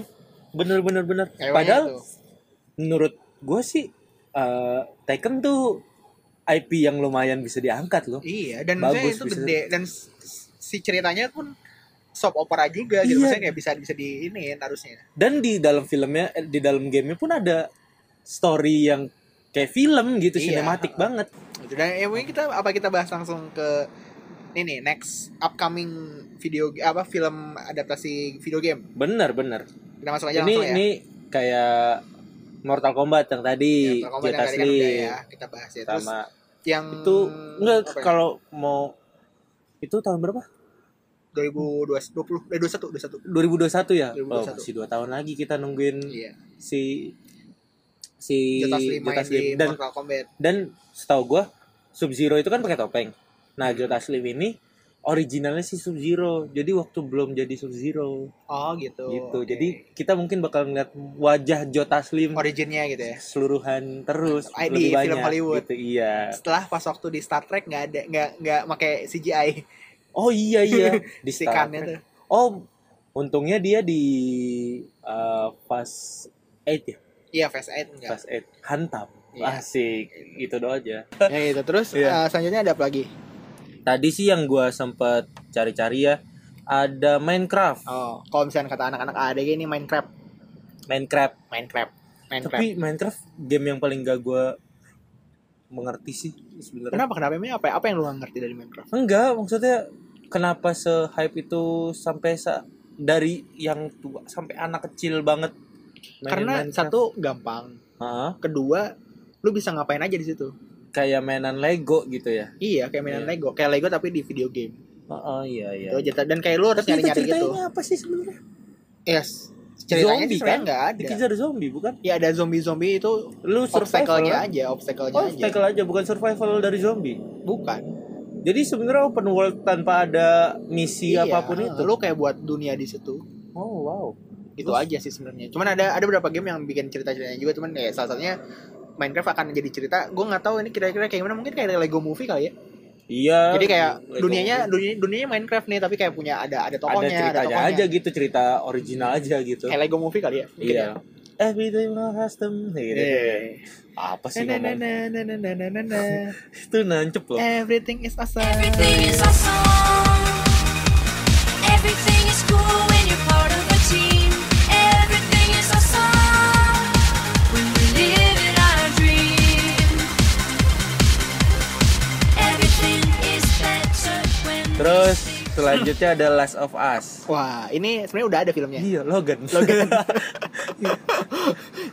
[SPEAKER 2] Bener bener bener
[SPEAKER 1] Kayaknya
[SPEAKER 2] Padahal
[SPEAKER 1] itu.
[SPEAKER 2] menurut gue sih eh, Tekken tuh IP yang lumayan bisa diangkat loh
[SPEAKER 1] Iya, dan
[SPEAKER 2] Bagus,
[SPEAKER 1] maksudnya itu
[SPEAKER 2] bisa.
[SPEAKER 1] gede dan s- s- si ceritanya pun soap opera juga gitu.
[SPEAKER 2] Iya.
[SPEAKER 1] Maksudnya kayak bisa bisa di ini harusnya.
[SPEAKER 2] Dan di dalam filmnya eh, Di dalam gamenya pun ada Story yang kayak film gitu
[SPEAKER 1] Iya.
[SPEAKER 2] Sinematik banget
[SPEAKER 1] Gitu. Dan ya mungkin kita apa kita bahas langsung ke ini nih, next upcoming video apa film adaptasi video game.
[SPEAKER 2] Bener bener
[SPEAKER 1] Kita masuk aja
[SPEAKER 2] Ini
[SPEAKER 1] langsung ya.
[SPEAKER 2] ini kayak Mortal Kombat yang tadi
[SPEAKER 1] Mortal Kombat yang tadi
[SPEAKER 2] Justice
[SPEAKER 1] kan udah
[SPEAKER 2] League
[SPEAKER 1] ya, kita bahas ya. Terus
[SPEAKER 2] Sama
[SPEAKER 1] yang
[SPEAKER 2] itu enggak
[SPEAKER 1] apa ya,
[SPEAKER 2] kalau mau itu tahun berapa?
[SPEAKER 1] 2020 eh 21 21.
[SPEAKER 2] 2021 ya? Oh,
[SPEAKER 1] 2021.
[SPEAKER 2] masih 2 tahun lagi kita nungguin
[SPEAKER 1] Iya.
[SPEAKER 2] si si
[SPEAKER 1] Jotas 5
[SPEAKER 2] Jotas
[SPEAKER 1] di
[SPEAKER 2] Lim. dan
[SPEAKER 1] Mortal Kombat.
[SPEAKER 2] dan setahu gua Sub Zero itu kan pakai topeng. Nah, Jotas Lim ini originalnya sih Sub Zero jadi waktu belum jadi Sub Zero
[SPEAKER 1] Oh gitu.
[SPEAKER 2] gitu
[SPEAKER 1] Oke.
[SPEAKER 2] jadi kita mungkin bakal ngeliat wajah Joe Taslim
[SPEAKER 1] originnya gitu ya.
[SPEAKER 2] seluruhan terus
[SPEAKER 1] Ah, di
[SPEAKER 2] lebih banyak
[SPEAKER 1] film Hollywood.
[SPEAKER 2] gitu iya
[SPEAKER 1] Setelah pas waktu di Star Trek nggak ada nggak nggak pakai CGI
[SPEAKER 2] oh iya iya
[SPEAKER 1] *laughs*
[SPEAKER 2] di
[SPEAKER 1] si
[SPEAKER 2] Star
[SPEAKER 1] kannya
[SPEAKER 2] Trek.
[SPEAKER 1] tuh.
[SPEAKER 2] oh untungnya dia di eh, Fast Eight ya
[SPEAKER 1] Iya, Phase 8 enggak.
[SPEAKER 2] Fast Eight hantam
[SPEAKER 1] Iya.
[SPEAKER 2] asik gitu doang aja
[SPEAKER 1] Ya gitu. Terus
[SPEAKER 2] Iya.
[SPEAKER 1] eh, selanjutnya ada apa lagi?
[SPEAKER 2] tadi sih yang gua sempet cari-cari ya ada Minecraft
[SPEAKER 1] Oh, kalau misalnya kata anak-anak ada ini Minecraft,
[SPEAKER 2] Minecraft
[SPEAKER 1] Minecraft, Minecraft.
[SPEAKER 2] tapi Minecraft game yang paling gak gua mengerti sih sebenarnya
[SPEAKER 1] kenapa kenapa emangnya apa apa yang lu nggak ngerti dari Minecraft?
[SPEAKER 2] Enggak, maksudnya kenapa se hype itu sampai sa dari yang tua sampai anak kecil banget. mainin
[SPEAKER 1] Karena
[SPEAKER 2] Minecraft.
[SPEAKER 1] satu gampang,
[SPEAKER 2] Hah?
[SPEAKER 1] kedua lu bisa ngapain aja di situ.
[SPEAKER 2] kayak mainan Lego gitu ya.
[SPEAKER 1] Iya, kayak mainan
[SPEAKER 2] Iya.
[SPEAKER 1] Lego, kayak Lego tapi di video game.
[SPEAKER 2] Oh, oh, iya iya.
[SPEAKER 1] Itu aja. Dan kayak lu harus
[SPEAKER 2] Tapi itu
[SPEAKER 1] nyari-nyari
[SPEAKER 2] ceritanya
[SPEAKER 1] gitu.
[SPEAKER 2] apa sih sebenarnya?
[SPEAKER 1] Yes. Ceritanya
[SPEAKER 2] Zombie,
[SPEAKER 1] sih sebenarnya
[SPEAKER 2] kan?
[SPEAKER 1] nggak ada.
[SPEAKER 2] Dikejar zombie bukan?
[SPEAKER 1] Ya ada zombie-zombie itu
[SPEAKER 2] Lu survival
[SPEAKER 1] obstacle-nya
[SPEAKER 2] kan?
[SPEAKER 1] aja, obstacle-nya
[SPEAKER 2] Oh,
[SPEAKER 1] aja.
[SPEAKER 2] obstacle aja bukan survival dari zombie.
[SPEAKER 1] Bukan.
[SPEAKER 2] Jadi sebenarnya open world tanpa ada misi
[SPEAKER 1] Iya,
[SPEAKER 2] apapun itu.
[SPEAKER 1] Lu kayak buat dunia di situ.
[SPEAKER 2] Oh, wow.
[SPEAKER 1] Itu
[SPEAKER 2] Terus?
[SPEAKER 1] aja sih sebenarnya. Cuman ada ada beberapa game yang bikin cerita-ceritanya juga, cuman ya salah satunya Minecraft akan jadi cerita. Gue nggak tahu ini kira-kira kayak gimana. Mungkin kayak Lego Movie kali ya.
[SPEAKER 2] Iya.
[SPEAKER 1] jadi kayak
[SPEAKER 2] Lego
[SPEAKER 1] dunianya dunia dunianya Minecraft nih, tapi kayak punya ada ada
[SPEAKER 2] ada
[SPEAKER 1] tokohnya, ada,
[SPEAKER 2] ceritanya
[SPEAKER 1] tokohnya.
[SPEAKER 2] aja gitu, cerita original aja gitu.
[SPEAKER 1] Kayak Lego Movie kali ya. mungkin ya.
[SPEAKER 2] Iya. Everything custom gitu.
[SPEAKER 1] Iya.
[SPEAKER 2] Apa sih
[SPEAKER 1] Na, na,
[SPEAKER 2] ngomong?
[SPEAKER 1] na, na, na, na, na, na, na.
[SPEAKER 2] Itu nancep loh.
[SPEAKER 1] Everything is awesome.
[SPEAKER 6] Everything is awesome. Everything is cool when you're part of a team. Everything is awesome when we live in our dream. Everything is better when we
[SPEAKER 2] Terus
[SPEAKER 6] sleep.
[SPEAKER 2] selanjutnya ada Last of Us.
[SPEAKER 1] Wah, ini sebenarnya udah ada filmnya.
[SPEAKER 2] Iya, Logan. *laughs*
[SPEAKER 1] Logan.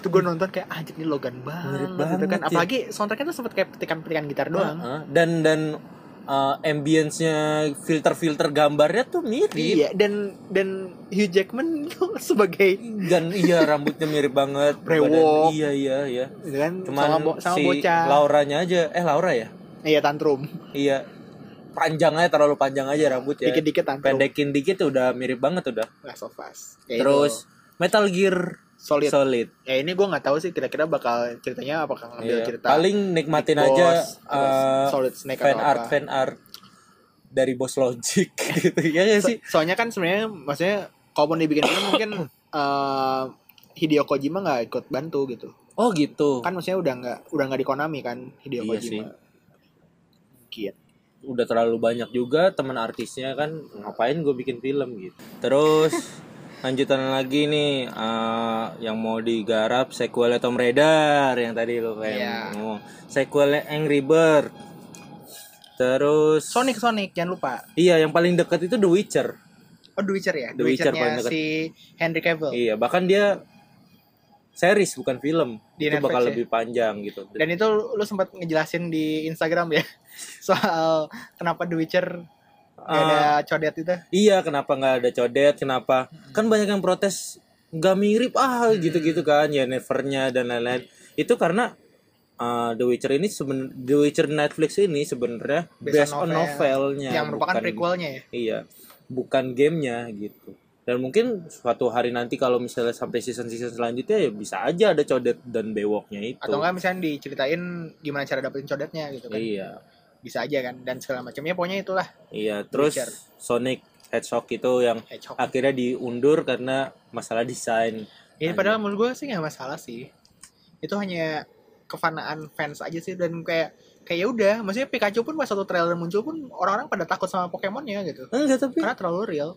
[SPEAKER 1] itu gue nonton kayak anjir nih Logan banget,
[SPEAKER 2] Mirip
[SPEAKER 1] gitu kan.
[SPEAKER 2] banget ya.
[SPEAKER 1] Apalagi soundtracknya tuh sempet kayak petikan-petikan gitar doang.
[SPEAKER 2] Heeh. dan dan uh, ambience-nya, filter-filter gambarnya tuh mirip.
[SPEAKER 1] Iya, dan dan Hugh Jackman *laughs* tuh sebagai
[SPEAKER 2] Dan iya rambutnya mirip
[SPEAKER 1] *laughs*
[SPEAKER 2] banget.
[SPEAKER 1] Brewok.
[SPEAKER 2] badan- Iya, iya, iya.
[SPEAKER 1] gitu kan
[SPEAKER 2] Cuman
[SPEAKER 1] sama, bo- sama
[SPEAKER 2] si
[SPEAKER 1] bocah.
[SPEAKER 2] Lauranya aja. Eh, Laura ya?
[SPEAKER 1] Iya, tantrum.
[SPEAKER 2] Iya. Panjangnya terlalu panjang aja rambutnya.
[SPEAKER 1] Dikit-dikit tantrum.
[SPEAKER 2] Pendekin dikit udah mirip banget udah.
[SPEAKER 1] Last of Us. Kayak
[SPEAKER 2] Terus
[SPEAKER 1] itu.
[SPEAKER 2] Metal Gear
[SPEAKER 1] Solid.
[SPEAKER 2] Solid.
[SPEAKER 1] ya ini gue nggak tahu sih kira-kira bakal ceritanya apakah ngambil
[SPEAKER 2] Iya,
[SPEAKER 1] cerita
[SPEAKER 2] paling nikmatin
[SPEAKER 1] Big
[SPEAKER 2] aja
[SPEAKER 1] Boss, terus
[SPEAKER 2] eh,
[SPEAKER 1] Solid Snake
[SPEAKER 2] fan
[SPEAKER 1] atau
[SPEAKER 2] art
[SPEAKER 1] apa.
[SPEAKER 2] fan art dari Boss Logic *laughs* gitu ya nggak
[SPEAKER 1] So-
[SPEAKER 2] sih
[SPEAKER 1] soalnya kan sebenarnya maksudnya kalaupun dibikin film mungkin eh, Hideo Kojima nggak ikut bantu gitu.
[SPEAKER 2] oh gitu
[SPEAKER 1] Kan maksudnya udah nggak udah nggak di Konami kan Hideo
[SPEAKER 2] Iya
[SPEAKER 1] Kojima.
[SPEAKER 2] sih.
[SPEAKER 1] Gitu.
[SPEAKER 2] udah terlalu banyak juga teman artisnya kan ngapain gue bikin film gitu terus lanjutan lagi nih eh, yang mau digarap sequelnya Tomb Raider yang tadi lo kayak
[SPEAKER 1] Iya.
[SPEAKER 2] ngomong sequelnya Angry Bird terus
[SPEAKER 1] Sonic Sonic jangan lupa.
[SPEAKER 2] iya yang paling dekat itu The Witcher
[SPEAKER 1] Oh The Witcher ya.
[SPEAKER 2] The Witcher
[SPEAKER 1] Witcher-nya
[SPEAKER 2] paling dekat.
[SPEAKER 1] si Henry Cavill.
[SPEAKER 2] Iya, bahkan dia series bukan film.
[SPEAKER 1] Di
[SPEAKER 2] itu
[SPEAKER 1] Netflix
[SPEAKER 2] bakal
[SPEAKER 1] ya?
[SPEAKER 2] lebih panjang gitu.
[SPEAKER 1] Dan itu lu, lu sempat ngejelasin di Instagram ya *laughs* soal kenapa The Witcher nggak ada
[SPEAKER 2] Ah,
[SPEAKER 1] codet itu.
[SPEAKER 2] iya, kenapa nggak ada codet? Kenapa?
[SPEAKER 1] Hmm.
[SPEAKER 2] Kan banyak yang protes nggak mirip ah gitu-gitu kan ya nevernya dan lain-lain. Itu karena uh, The Witcher ini seben The Witcher Netflix ini sebenarnya
[SPEAKER 1] Based
[SPEAKER 2] based,
[SPEAKER 1] on novel.
[SPEAKER 2] on novelnya
[SPEAKER 1] yang merupakan
[SPEAKER 2] bukan-
[SPEAKER 1] prequelnya ya.
[SPEAKER 2] Iya, bukan gamenya gitu. Dan mungkin suatu hari nanti kalau misalnya sampai season-season selanjutnya ya bisa aja ada codet dan bewoknya itu.
[SPEAKER 1] Atau enggak misalnya diceritain gimana cara dapetin codetnya gitu kan.
[SPEAKER 2] Iya.
[SPEAKER 1] Bisa aja kan dan segala macamnya pokoknya itulah
[SPEAKER 2] Iya, terus
[SPEAKER 1] Witcher.
[SPEAKER 2] Sonic Hedgehog itu yang
[SPEAKER 1] Hedgehog.
[SPEAKER 2] akhirnya diundur karena masalah desain.
[SPEAKER 1] Ini padahal menurut gue sih nggak masalah sih. Itu hanya kefanaan fans aja sih dan kayak kayak ya udah, maksudnya Pikachu pun pas satu trailer muncul pun orang-orang pada takut sama Pokemonnya gitu.
[SPEAKER 2] Enggak, tapi
[SPEAKER 1] Karena terlalu real.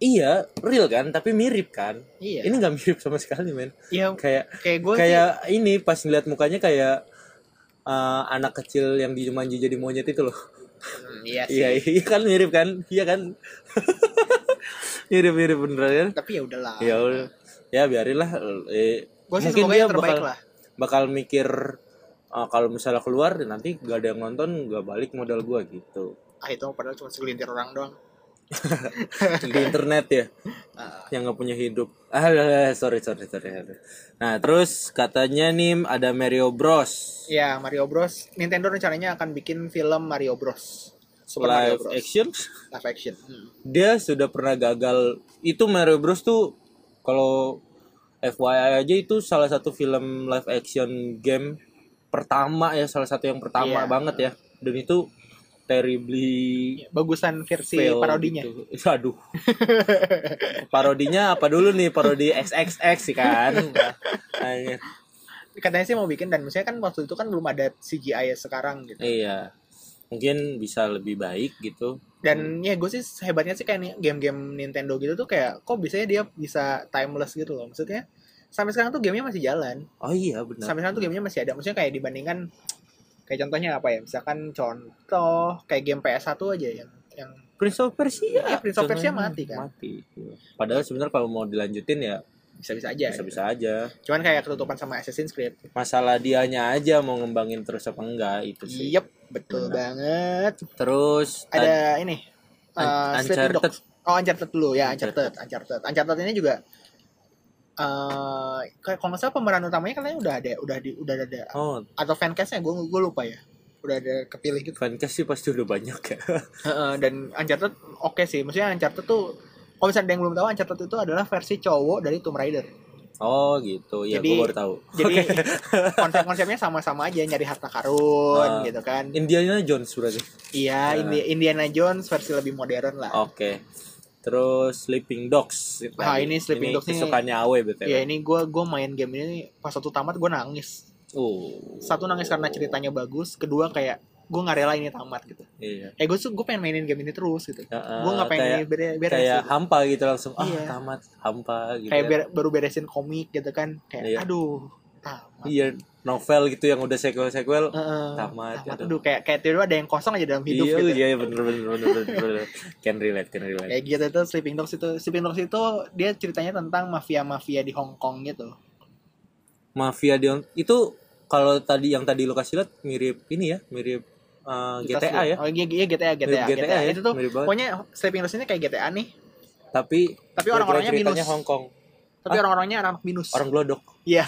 [SPEAKER 2] iya, real kan, tapi mirip kan.
[SPEAKER 1] Iya.
[SPEAKER 2] Ini nggak mirip sama sekali, men.
[SPEAKER 1] Iya,
[SPEAKER 2] Kayak
[SPEAKER 1] kayak gue sih
[SPEAKER 2] kayak ini pas ngeliat mukanya kayak eh, anak kecil yang di Jumanji jadi monyet itu loh.
[SPEAKER 1] Hmm, iya sih.
[SPEAKER 2] Iya, iya kan mirip kan? Iya kan? *laughs* Mirip-mirip beneran kan?
[SPEAKER 1] Tapi ya udahlah.
[SPEAKER 2] Ya udah. Ya biarinlah eh,
[SPEAKER 1] Gue sih
[SPEAKER 2] mungkin
[SPEAKER 1] semoga
[SPEAKER 2] dia
[SPEAKER 1] yang terbaik
[SPEAKER 2] bakal
[SPEAKER 1] lah.
[SPEAKER 2] bakal mikir "Ah, kalau misalnya keluar nanti gak ada yang nonton gak balik modal gua gitu
[SPEAKER 1] Ah itu padahal cuma segelintir orang doang.
[SPEAKER 2] di internet ya yang nggak punya hidup ah ah, ah, sorry sorry sorry nah terus katanya nih ada Mario Bros
[SPEAKER 1] Iya, Ya Mario Bros. Nintendo rencananya akan bikin film Mario Bros. Mario
[SPEAKER 2] live
[SPEAKER 1] Bros.
[SPEAKER 2] action
[SPEAKER 1] live action. Hmm.
[SPEAKER 2] dia sudah pernah gagal itu Mario Bros tuh kalau FYI aja itu salah satu film live action game pertama ya salah satu yang
[SPEAKER 1] Iya.
[SPEAKER 2] pertama banget ya dan itu terribly
[SPEAKER 1] Bagusan versi
[SPEAKER 2] fail
[SPEAKER 1] parodinya.
[SPEAKER 2] gitu. *laughs* aduh parodinya apa dulu nih parodi XXX sih kan
[SPEAKER 1] *laughs*
[SPEAKER 2] Anjir.
[SPEAKER 1] Katanya sih mau bikin dan misalnya kan waktu itu kan belum ada CGI -nya sekarang gitu.
[SPEAKER 2] iya mungkin bisa lebih baik gitu
[SPEAKER 1] Dan ya gue sih hebatnya sih kayak nih, game-game Nintendo gitu tuh kayak kok bisanya dia bisa timeless gitu loh. Maksudnya sampai sekarang tuh gamenya masih jalan.
[SPEAKER 2] oh iya benar
[SPEAKER 1] Sampai sekarang tuh gamenya masih ada. Maksudnya kayak dibandingkan kayak contohnya apa ya? Misalkan contoh kayak game PS1 aja yang yang
[SPEAKER 2] Prince of Persia.
[SPEAKER 1] Iya, Prince of Persia
[SPEAKER 2] Contohnya
[SPEAKER 1] mati kan?
[SPEAKER 2] Mati. Iya. Padahal sebenarnya kalau mau dilanjutin ya
[SPEAKER 1] bisa-bisa aja. gitu.
[SPEAKER 2] bisa-bisa aja.
[SPEAKER 1] Cuman kayak ketutupan sama Assassin's Creed.
[SPEAKER 2] Masalah dianya aja mau ngembangin terus apa enggak itu sih.
[SPEAKER 1] Yep, betul banget.
[SPEAKER 2] Terus
[SPEAKER 1] Iya. Ada
[SPEAKER 2] tadi-
[SPEAKER 1] ini.
[SPEAKER 2] Un-
[SPEAKER 1] eh, Sleeping
[SPEAKER 2] Uncharted.
[SPEAKER 1] Dogs. Oh, Uncharted dulu ya,
[SPEAKER 2] Uncharted.
[SPEAKER 1] Uncharted, Uncharted. Uncharted ini juga eh kayak kalau nggak salah pemeran utamanya katanya udah ada, udah di, udah ada
[SPEAKER 2] Oh,
[SPEAKER 1] atau fancastnya gue gue lupa ya. Udah ada kepilih gitu.
[SPEAKER 2] fancast sih pasti udah banyak ya. *laughs*
[SPEAKER 1] Heeh, dan Uncharted oke sih. Maksudnya Uncharted tuh kalau misalnya ada yang belum tahu Uncharted itu adalah versi cowok dari Tomb Raider.
[SPEAKER 2] oh, gitu. Ya
[SPEAKER 1] Jadi-
[SPEAKER 2] gue baru tahu. *laughs*
[SPEAKER 1] Jadi konsep-konsepnya sama-sama aja nyari harta karun
[SPEAKER 2] Ah.
[SPEAKER 1] gitu kan.
[SPEAKER 2] Indiana Jones berarti.
[SPEAKER 1] Iya,
[SPEAKER 2] Ya.
[SPEAKER 1] Indi- Indiana Jones versi lebih modern lah.
[SPEAKER 2] Oke. Terus Sleeping Dogs.
[SPEAKER 1] Ah, ini Sleeping Dogs ini-
[SPEAKER 2] kesukaannya Awe BTW.
[SPEAKER 1] Ya ini gue gua main game ini pas satu tamat gue nangis.
[SPEAKER 2] Oh.
[SPEAKER 1] Satu nangis karena ceritanya bagus, kedua kayak gue nggak rela ini tamat gitu.
[SPEAKER 2] Iya.
[SPEAKER 1] Eh gue gue pengen mainin game ini terus gitu.
[SPEAKER 2] Heeh,
[SPEAKER 1] gue nggak pengen
[SPEAKER 2] Eh, kayak-
[SPEAKER 1] ini bere- beres.
[SPEAKER 2] Kayak
[SPEAKER 1] gitu.
[SPEAKER 2] hampa gitu langsung. Ah,
[SPEAKER 1] Iya.
[SPEAKER 2] tamat. Hampa gitu.
[SPEAKER 1] kayak
[SPEAKER 2] ya.
[SPEAKER 1] ber- baru beresin komik gitu kan. Kayak
[SPEAKER 2] Iya.
[SPEAKER 1] aduh tamat.
[SPEAKER 2] Iya, novel gitu yang udah sequel-sequel.
[SPEAKER 1] Heeh,
[SPEAKER 2] Tamat,
[SPEAKER 1] tamat.
[SPEAKER 2] aduh.
[SPEAKER 1] Aduh kayak kayak tiba-tiba ada yang kosong aja dalam hidup
[SPEAKER 2] iya,
[SPEAKER 1] gitu.
[SPEAKER 2] iya bener bener bener bener,
[SPEAKER 1] *laughs*
[SPEAKER 2] bener. Can relate, can relate.
[SPEAKER 1] Kayak gitu itu Sleeping Dogs itu Sleeping Dogs itu dia ceritanya tentang mafia-mafia di Hong Kong gitu.
[SPEAKER 2] Mafia Dion itu kalau tadi yang tadi lo kasih liat mirip ini ya, mirip eh,
[SPEAKER 1] Kita
[SPEAKER 2] GTA
[SPEAKER 1] sebut-
[SPEAKER 2] ya.
[SPEAKER 1] Oh iya iya, GTA GTA.
[SPEAKER 2] Mirip GTA ya,
[SPEAKER 1] Itu tuh
[SPEAKER 2] mirip banget.
[SPEAKER 1] pokoknya Sleeping Dogs ini kayak GTA nih,
[SPEAKER 2] Tapi
[SPEAKER 1] tapi orang-orangnya
[SPEAKER 2] ceritanya
[SPEAKER 1] minus.
[SPEAKER 2] Hong Kong,
[SPEAKER 1] tapi
[SPEAKER 2] Ah.
[SPEAKER 1] orang-orangnya anak minus.
[SPEAKER 2] orang Glodok.
[SPEAKER 1] Iya.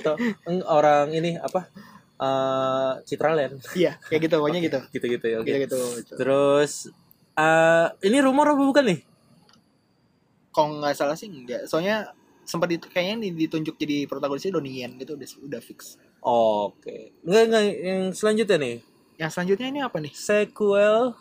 [SPEAKER 2] Atau, eng, orang ini apa? Eh Citraland
[SPEAKER 1] Iya, kayak gitu pokoknya gitu.
[SPEAKER 2] *laughs* gitu-gitu ya. oke.
[SPEAKER 1] Gitu-gitu.
[SPEAKER 2] Terus eh ini rumor apa bukan nih?
[SPEAKER 1] Kalau nggak salah sih enggak. Soalnya sempat di, kayaknya di- ditunjuk jadi protagonisnya Donnie Yen gitu udah udah fix.
[SPEAKER 2] Oke. Enggak enggak yang selanjutnya nih.
[SPEAKER 1] Yang selanjutnya ini apa nih?
[SPEAKER 2] Sequel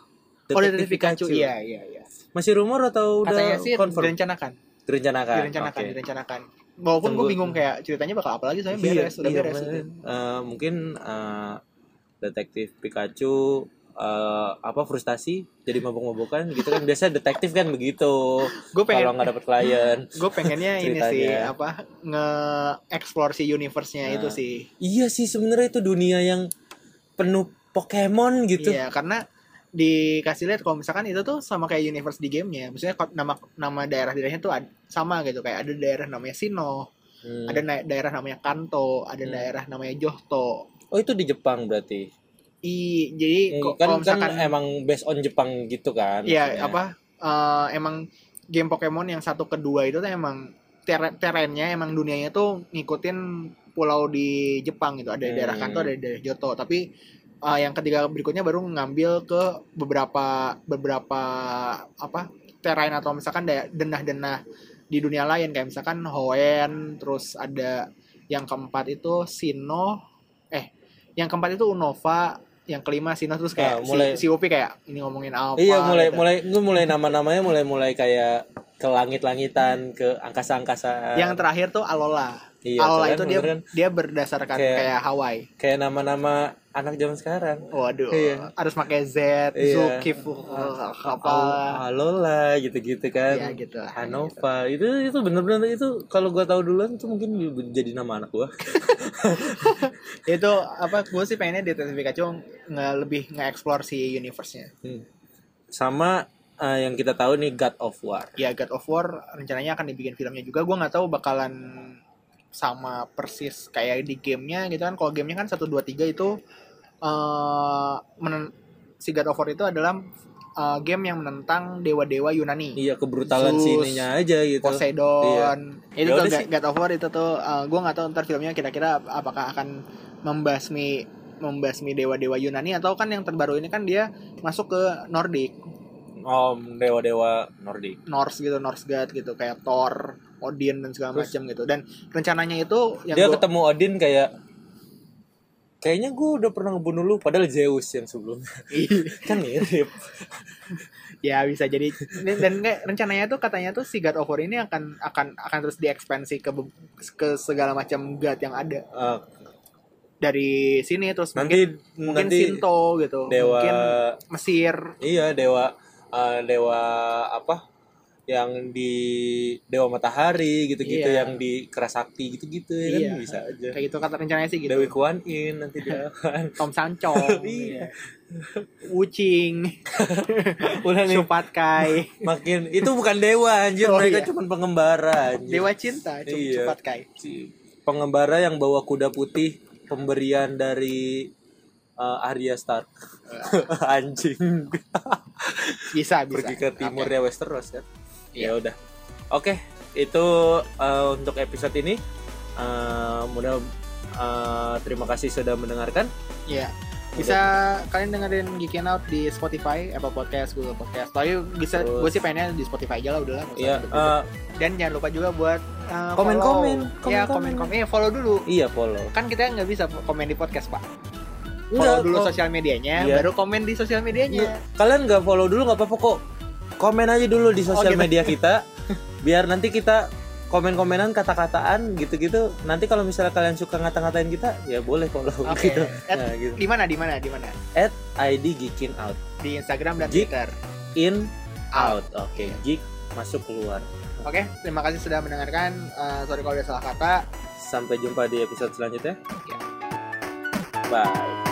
[SPEAKER 1] Oh,
[SPEAKER 2] Detektif
[SPEAKER 1] Detective Pikachu. Iya, iya, iya.
[SPEAKER 2] Masih rumor atau
[SPEAKER 1] Katanya
[SPEAKER 2] udah
[SPEAKER 1] sih
[SPEAKER 2] confirm?
[SPEAKER 1] direncanakan,
[SPEAKER 2] direncanakan.
[SPEAKER 1] direncanakan,
[SPEAKER 2] Oke.
[SPEAKER 1] direncanakan. Walaupun gue
[SPEAKER 2] Tunggu.
[SPEAKER 1] bingung kayak ceritanya bakal apa lagi soalnya
[SPEAKER 2] Iya,
[SPEAKER 1] beres, udah
[SPEAKER 2] iya,
[SPEAKER 1] beres.
[SPEAKER 2] bener.
[SPEAKER 1] gitu.
[SPEAKER 2] Eh, mungkin eh, detektif Pikachu eh, apa frustasi jadi mabok-mabokan gitu kan biasanya detektif kan begitu.
[SPEAKER 1] Gue pengen
[SPEAKER 2] Kalau nggak dapet klien.
[SPEAKER 1] gue pengennya ini
[SPEAKER 2] Ceritanya.
[SPEAKER 1] sih apa nge-explore si universe-nya itu
[SPEAKER 2] Nah.
[SPEAKER 1] sih.
[SPEAKER 2] Iya sih sebenarnya itu dunia yang penuh Pokemon gitu.
[SPEAKER 1] Iya, karena dikasih lihat kalau misalkan itu tuh sama kayak universe di gamenya. Maksudnya ko- nama nama daerah-daerahnya tuh ad- sama gitu. Kayak ada daerah namanya Sino,
[SPEAKER 2] Hmm.
[SPEAKER 1] ada na- daerah namanya Kanto, ada
[SPEAKER 2] Hmm.
[SPEAKER 1] daerah namanya Johto.
[SPEAKER 2] Oh itu di Jepang berarti.
[SPEAKER 1] I, jadi ko- Iya, kalau
[SPEAKER 2] kan, kan
[SPEAKER 1] misalkan
[SPEAKER 2] emang based on Jepang gitu kan.
[SPEAKER 1] iya
[SPEAKER 2] maksudnya.
[SPEAKER 1] apa eh, emang game Pokemon yang satu kedua itu tuh emang ter- terennya emang dunianya tuh ngikutin pulau di Jepang gitu. Ada daerah
[SPEAKER 2] Hmm.
[SPEAKER 1] Kanto, ada daerah Johto, tapi eh, yang ketiga berikutnya baru ngambil ke beberapa beberapa apa terrain atau misalkan daer- denah-denah di dunia lain kayak misalkan Hoenn, terus ada yang keempat itu Sino eh yang keempat itu Unova, yang kelima Sino terus kayak
[SPEAKER 2] Ah, mulai-
[SPEAKER 1] si, si Upi kayak ini ngomongin apa
[SPEAKER 2] Iya mulai
[SPEAKER 1] gitu.
[SPEAKER 2] mulai gue mulai nama-namanya mulai mulai kayak ke langit-langitan, ke angkasa-angkasa.
[SPEAKER 1] yang terakhir tuh Alola.
[SPEAKER 2] Iya,
[SPEAKER 1] Alola
[SPEAKER 2] keren,
[SPEAKER 1] itu dia
[SPEAKER 2] bener kan?
[SPEAKER 1] dia berdasarkan kayak,
[SPEAKER 2] Kayak-
[SPEAKER 1] Hawaii.
[SPEAKER 2] kayak nama-nama anak zaman sekarang.
[SPEAKER 1] Waduh,
[SPEAKER 2] Iya.
[SPEAKER 1] harus pakai Z,
[SPEAKER 2] Iya.
[SPEAKER 1] Zuki, apa.
[SPEAKER 2] Alola gitu-gitu kan.
[SPEAKER 1] Iya, gitu lah.
[SPEAKER 2] Hanova itu itu bener-bener itu kalau gua tahu duluan tuh mungkin jadi nama anak gua.
[SPEAKER 1] itu apa gue sih pengennya Detective Pikachu nge lebih nge-explore si universe-nya
[SPEAKER 2] Sama eh, yang kita tahu nih God of War.
[SPEAKER 1] ya God of War rencananya akan dibikin filmnya juga gue nggak tahu bakalan sama persis kayak di gamenya gitu kan kalau gamenya kan 1, 2, 3 itu eh menen- si God of War itu adalah eh, game yang menentang dewa-dewa Yunani
[SPEAKER 2] Iya kebrutalan
[SPEAKER 1] Zeus,
[SPEAKER 2] sininya aja gitu.
[SPEAKER 1] Poseidon itu
[SPEAKER 2] Ya
[SPEAKER 1] tuh eh,
[SPEAKER 2] udah
[SPEAKER 1] God,
[SPEAKER 2] sih.
[SPEAKER 1] God of War itu tuh gue nggak tahu ntar filmnya kira-kira apakah akan membasmi membasmi dewa-dewa Yunani atau kan yang terbaru ini kan dia masuk ke Nordic,
[SPEAKER 2] Om dewa-dewa Nordik.
[SPEAKER 1] Norse gitu, Norse god gitu kayak Thor, Odin dan segala
[SPEAKER 2] Terus?
[SPEAKER 1] macam gitu. Dan rencananya itu yang
[SPEAKER 2] Dia
[SPEAKER 1] gua- *laughs*
[SPEAKER 2] ketemu Odin kayak Kayaknya gue udah pernah ngebunuh lu padahal Zeus yang sebelumnya. *laughs* kan mirip.
[SPEAKER 1] Iya, ya bisa jadi dan, dan kayak rencananya tuh katanya tuh si God of War ini akan akan akan terus diekspansi ke be- ke segala macam god yang ada
[SPEAKER 2] Eh,
[SPEAKER 1] dari sini terus mungkin
[SPEAKER 2] nanti
[SPEAKER 1] mungkin
[SPEAKER 2] nanti
[SPEAKER 1] Shinto gitu
[SPEAKER 2] dewa
[SPEAKER 1] mungkin Mesir
[SPEAKER 2] iya dewa eh, dewa apa yang di dewa matahari gitu-gitu
[SPEAKER 1] Iya.
[SPEAKER 2] yang di kerasakti gitu-gitu ya kan
[SPEAKER 1] Iya.
[SPEAKER 2] bisa aja.
[SPEAKER 1] kayak gitu kata rencananya sih gitu
[SPEAKER 2] Dewi Kuan Yin nanti
[SPEAKER 1] *laughs*
[SPEAKER 2] dia akan
[SPEAKER 1] Tom ya. Sancong
[SPEAKER 2] *laughs* Iya.
[SPEAKER 1] Wucing
[SPEAKER 2] udah nih
[SPEAKER 1] Supat Kai
[SPEAKER 2] *laughs* makin itu bukan dewa anjir
[SPEAKER 1] Oh, iya.
[SPEAKER 2] mereka cuma pengembara anjir.
[SPEAKER 1] Dewa Cinta Cum-
[SPEAKER 2] Iya.
[SPEAKER 1] Supat Kai
[SPEAKER 2] Si pengembara yang bawa kuda putih pemberian dari eh, Arya Stark *laughs* anjing
[SPEAKER 1] bisa bisa
[SPEAKER 2] pergi ke timurnya Westeros kan
[SPEAKER 1] Iya.
[SPEAKER 2] ya udah oke itu eh, untuk episode ini Eh, mudah eh, terima kasih sudah mendengarkan
[SPEAKER 1] Iya. Bisa kalian dengerin Geekin Out di Spotify, Apple Podcast, Google Podcast. Tapi bisa
[SPEAKER 2] Terus.
[SPEAKER 1] gue sih pengennya di Spotify aja lah udahlah. nggak usah
[SPEAKER 2] ya
[SPEAKER 1] ribet-ribet. Dan jangan lupa juga buat uh,
[SPEAKER 2] Komen,
[SPEAKER 1] follow.
[SPEAKER 2] komen,
[SPEAKER 1] Ya,
[SPEAKER 2] komen,
[SPEAKER 1] komen komen. Eh, follow dulu.
[SPEAKER 2] iya follow
[SPEAKER 1] Kan kita nggak bisa komen di podcast, Pak.
[SPEAKER 2] Enggak,
[SPEAKER 1] Follow dulu
[SPEAKER 2] kok.
[SPEAKER 1] sosial medianya,
[SPEAKER 2] Iya.
[SPEAKER 1] baru komen di sosial medianya.
[SPEAKER 2] kalian nggak follow dulu nggak apa-apa kok komen aja dulu di
[SPEAKER 1] gitu.
[SPEAKER 2] sosial media
[SPEAKER 1] *laughs*
[SPEAKER 2] kita biar nanti kita komen-komenan kata-kataan gitu-gitu nanti kalau misalnya kalian suka ngata-ngatain kita ya boleh follow
[SPEAKER 1] Oke.
[SPEAKER 2] gitu
[SPEAKER 1] At-
[SPEAKER 2] nah gitu
[SPEAKER 1] Di mana? Di mana? Di mana?
[SPEAKER 2] at id geekin out
[SPEAKER 1] Di Instagram dan
[SPEAKER 2] Geek.
[SPEAKER 1] Twitter.
[SPEAKER 2] in out oke
[SPEAKER 1] Iya.
[SPEAKER 2] geek masuk keluar
[SPEAKER 1] Oke, terima kasih sudah mendengarkan. Uh, sorry kalau ada salah kata. Iya.
[SPEAKER 2] sampai jumpa di episode selanjutnya
[SPEAKER 1] Ya.
[SPEAKER 2] bye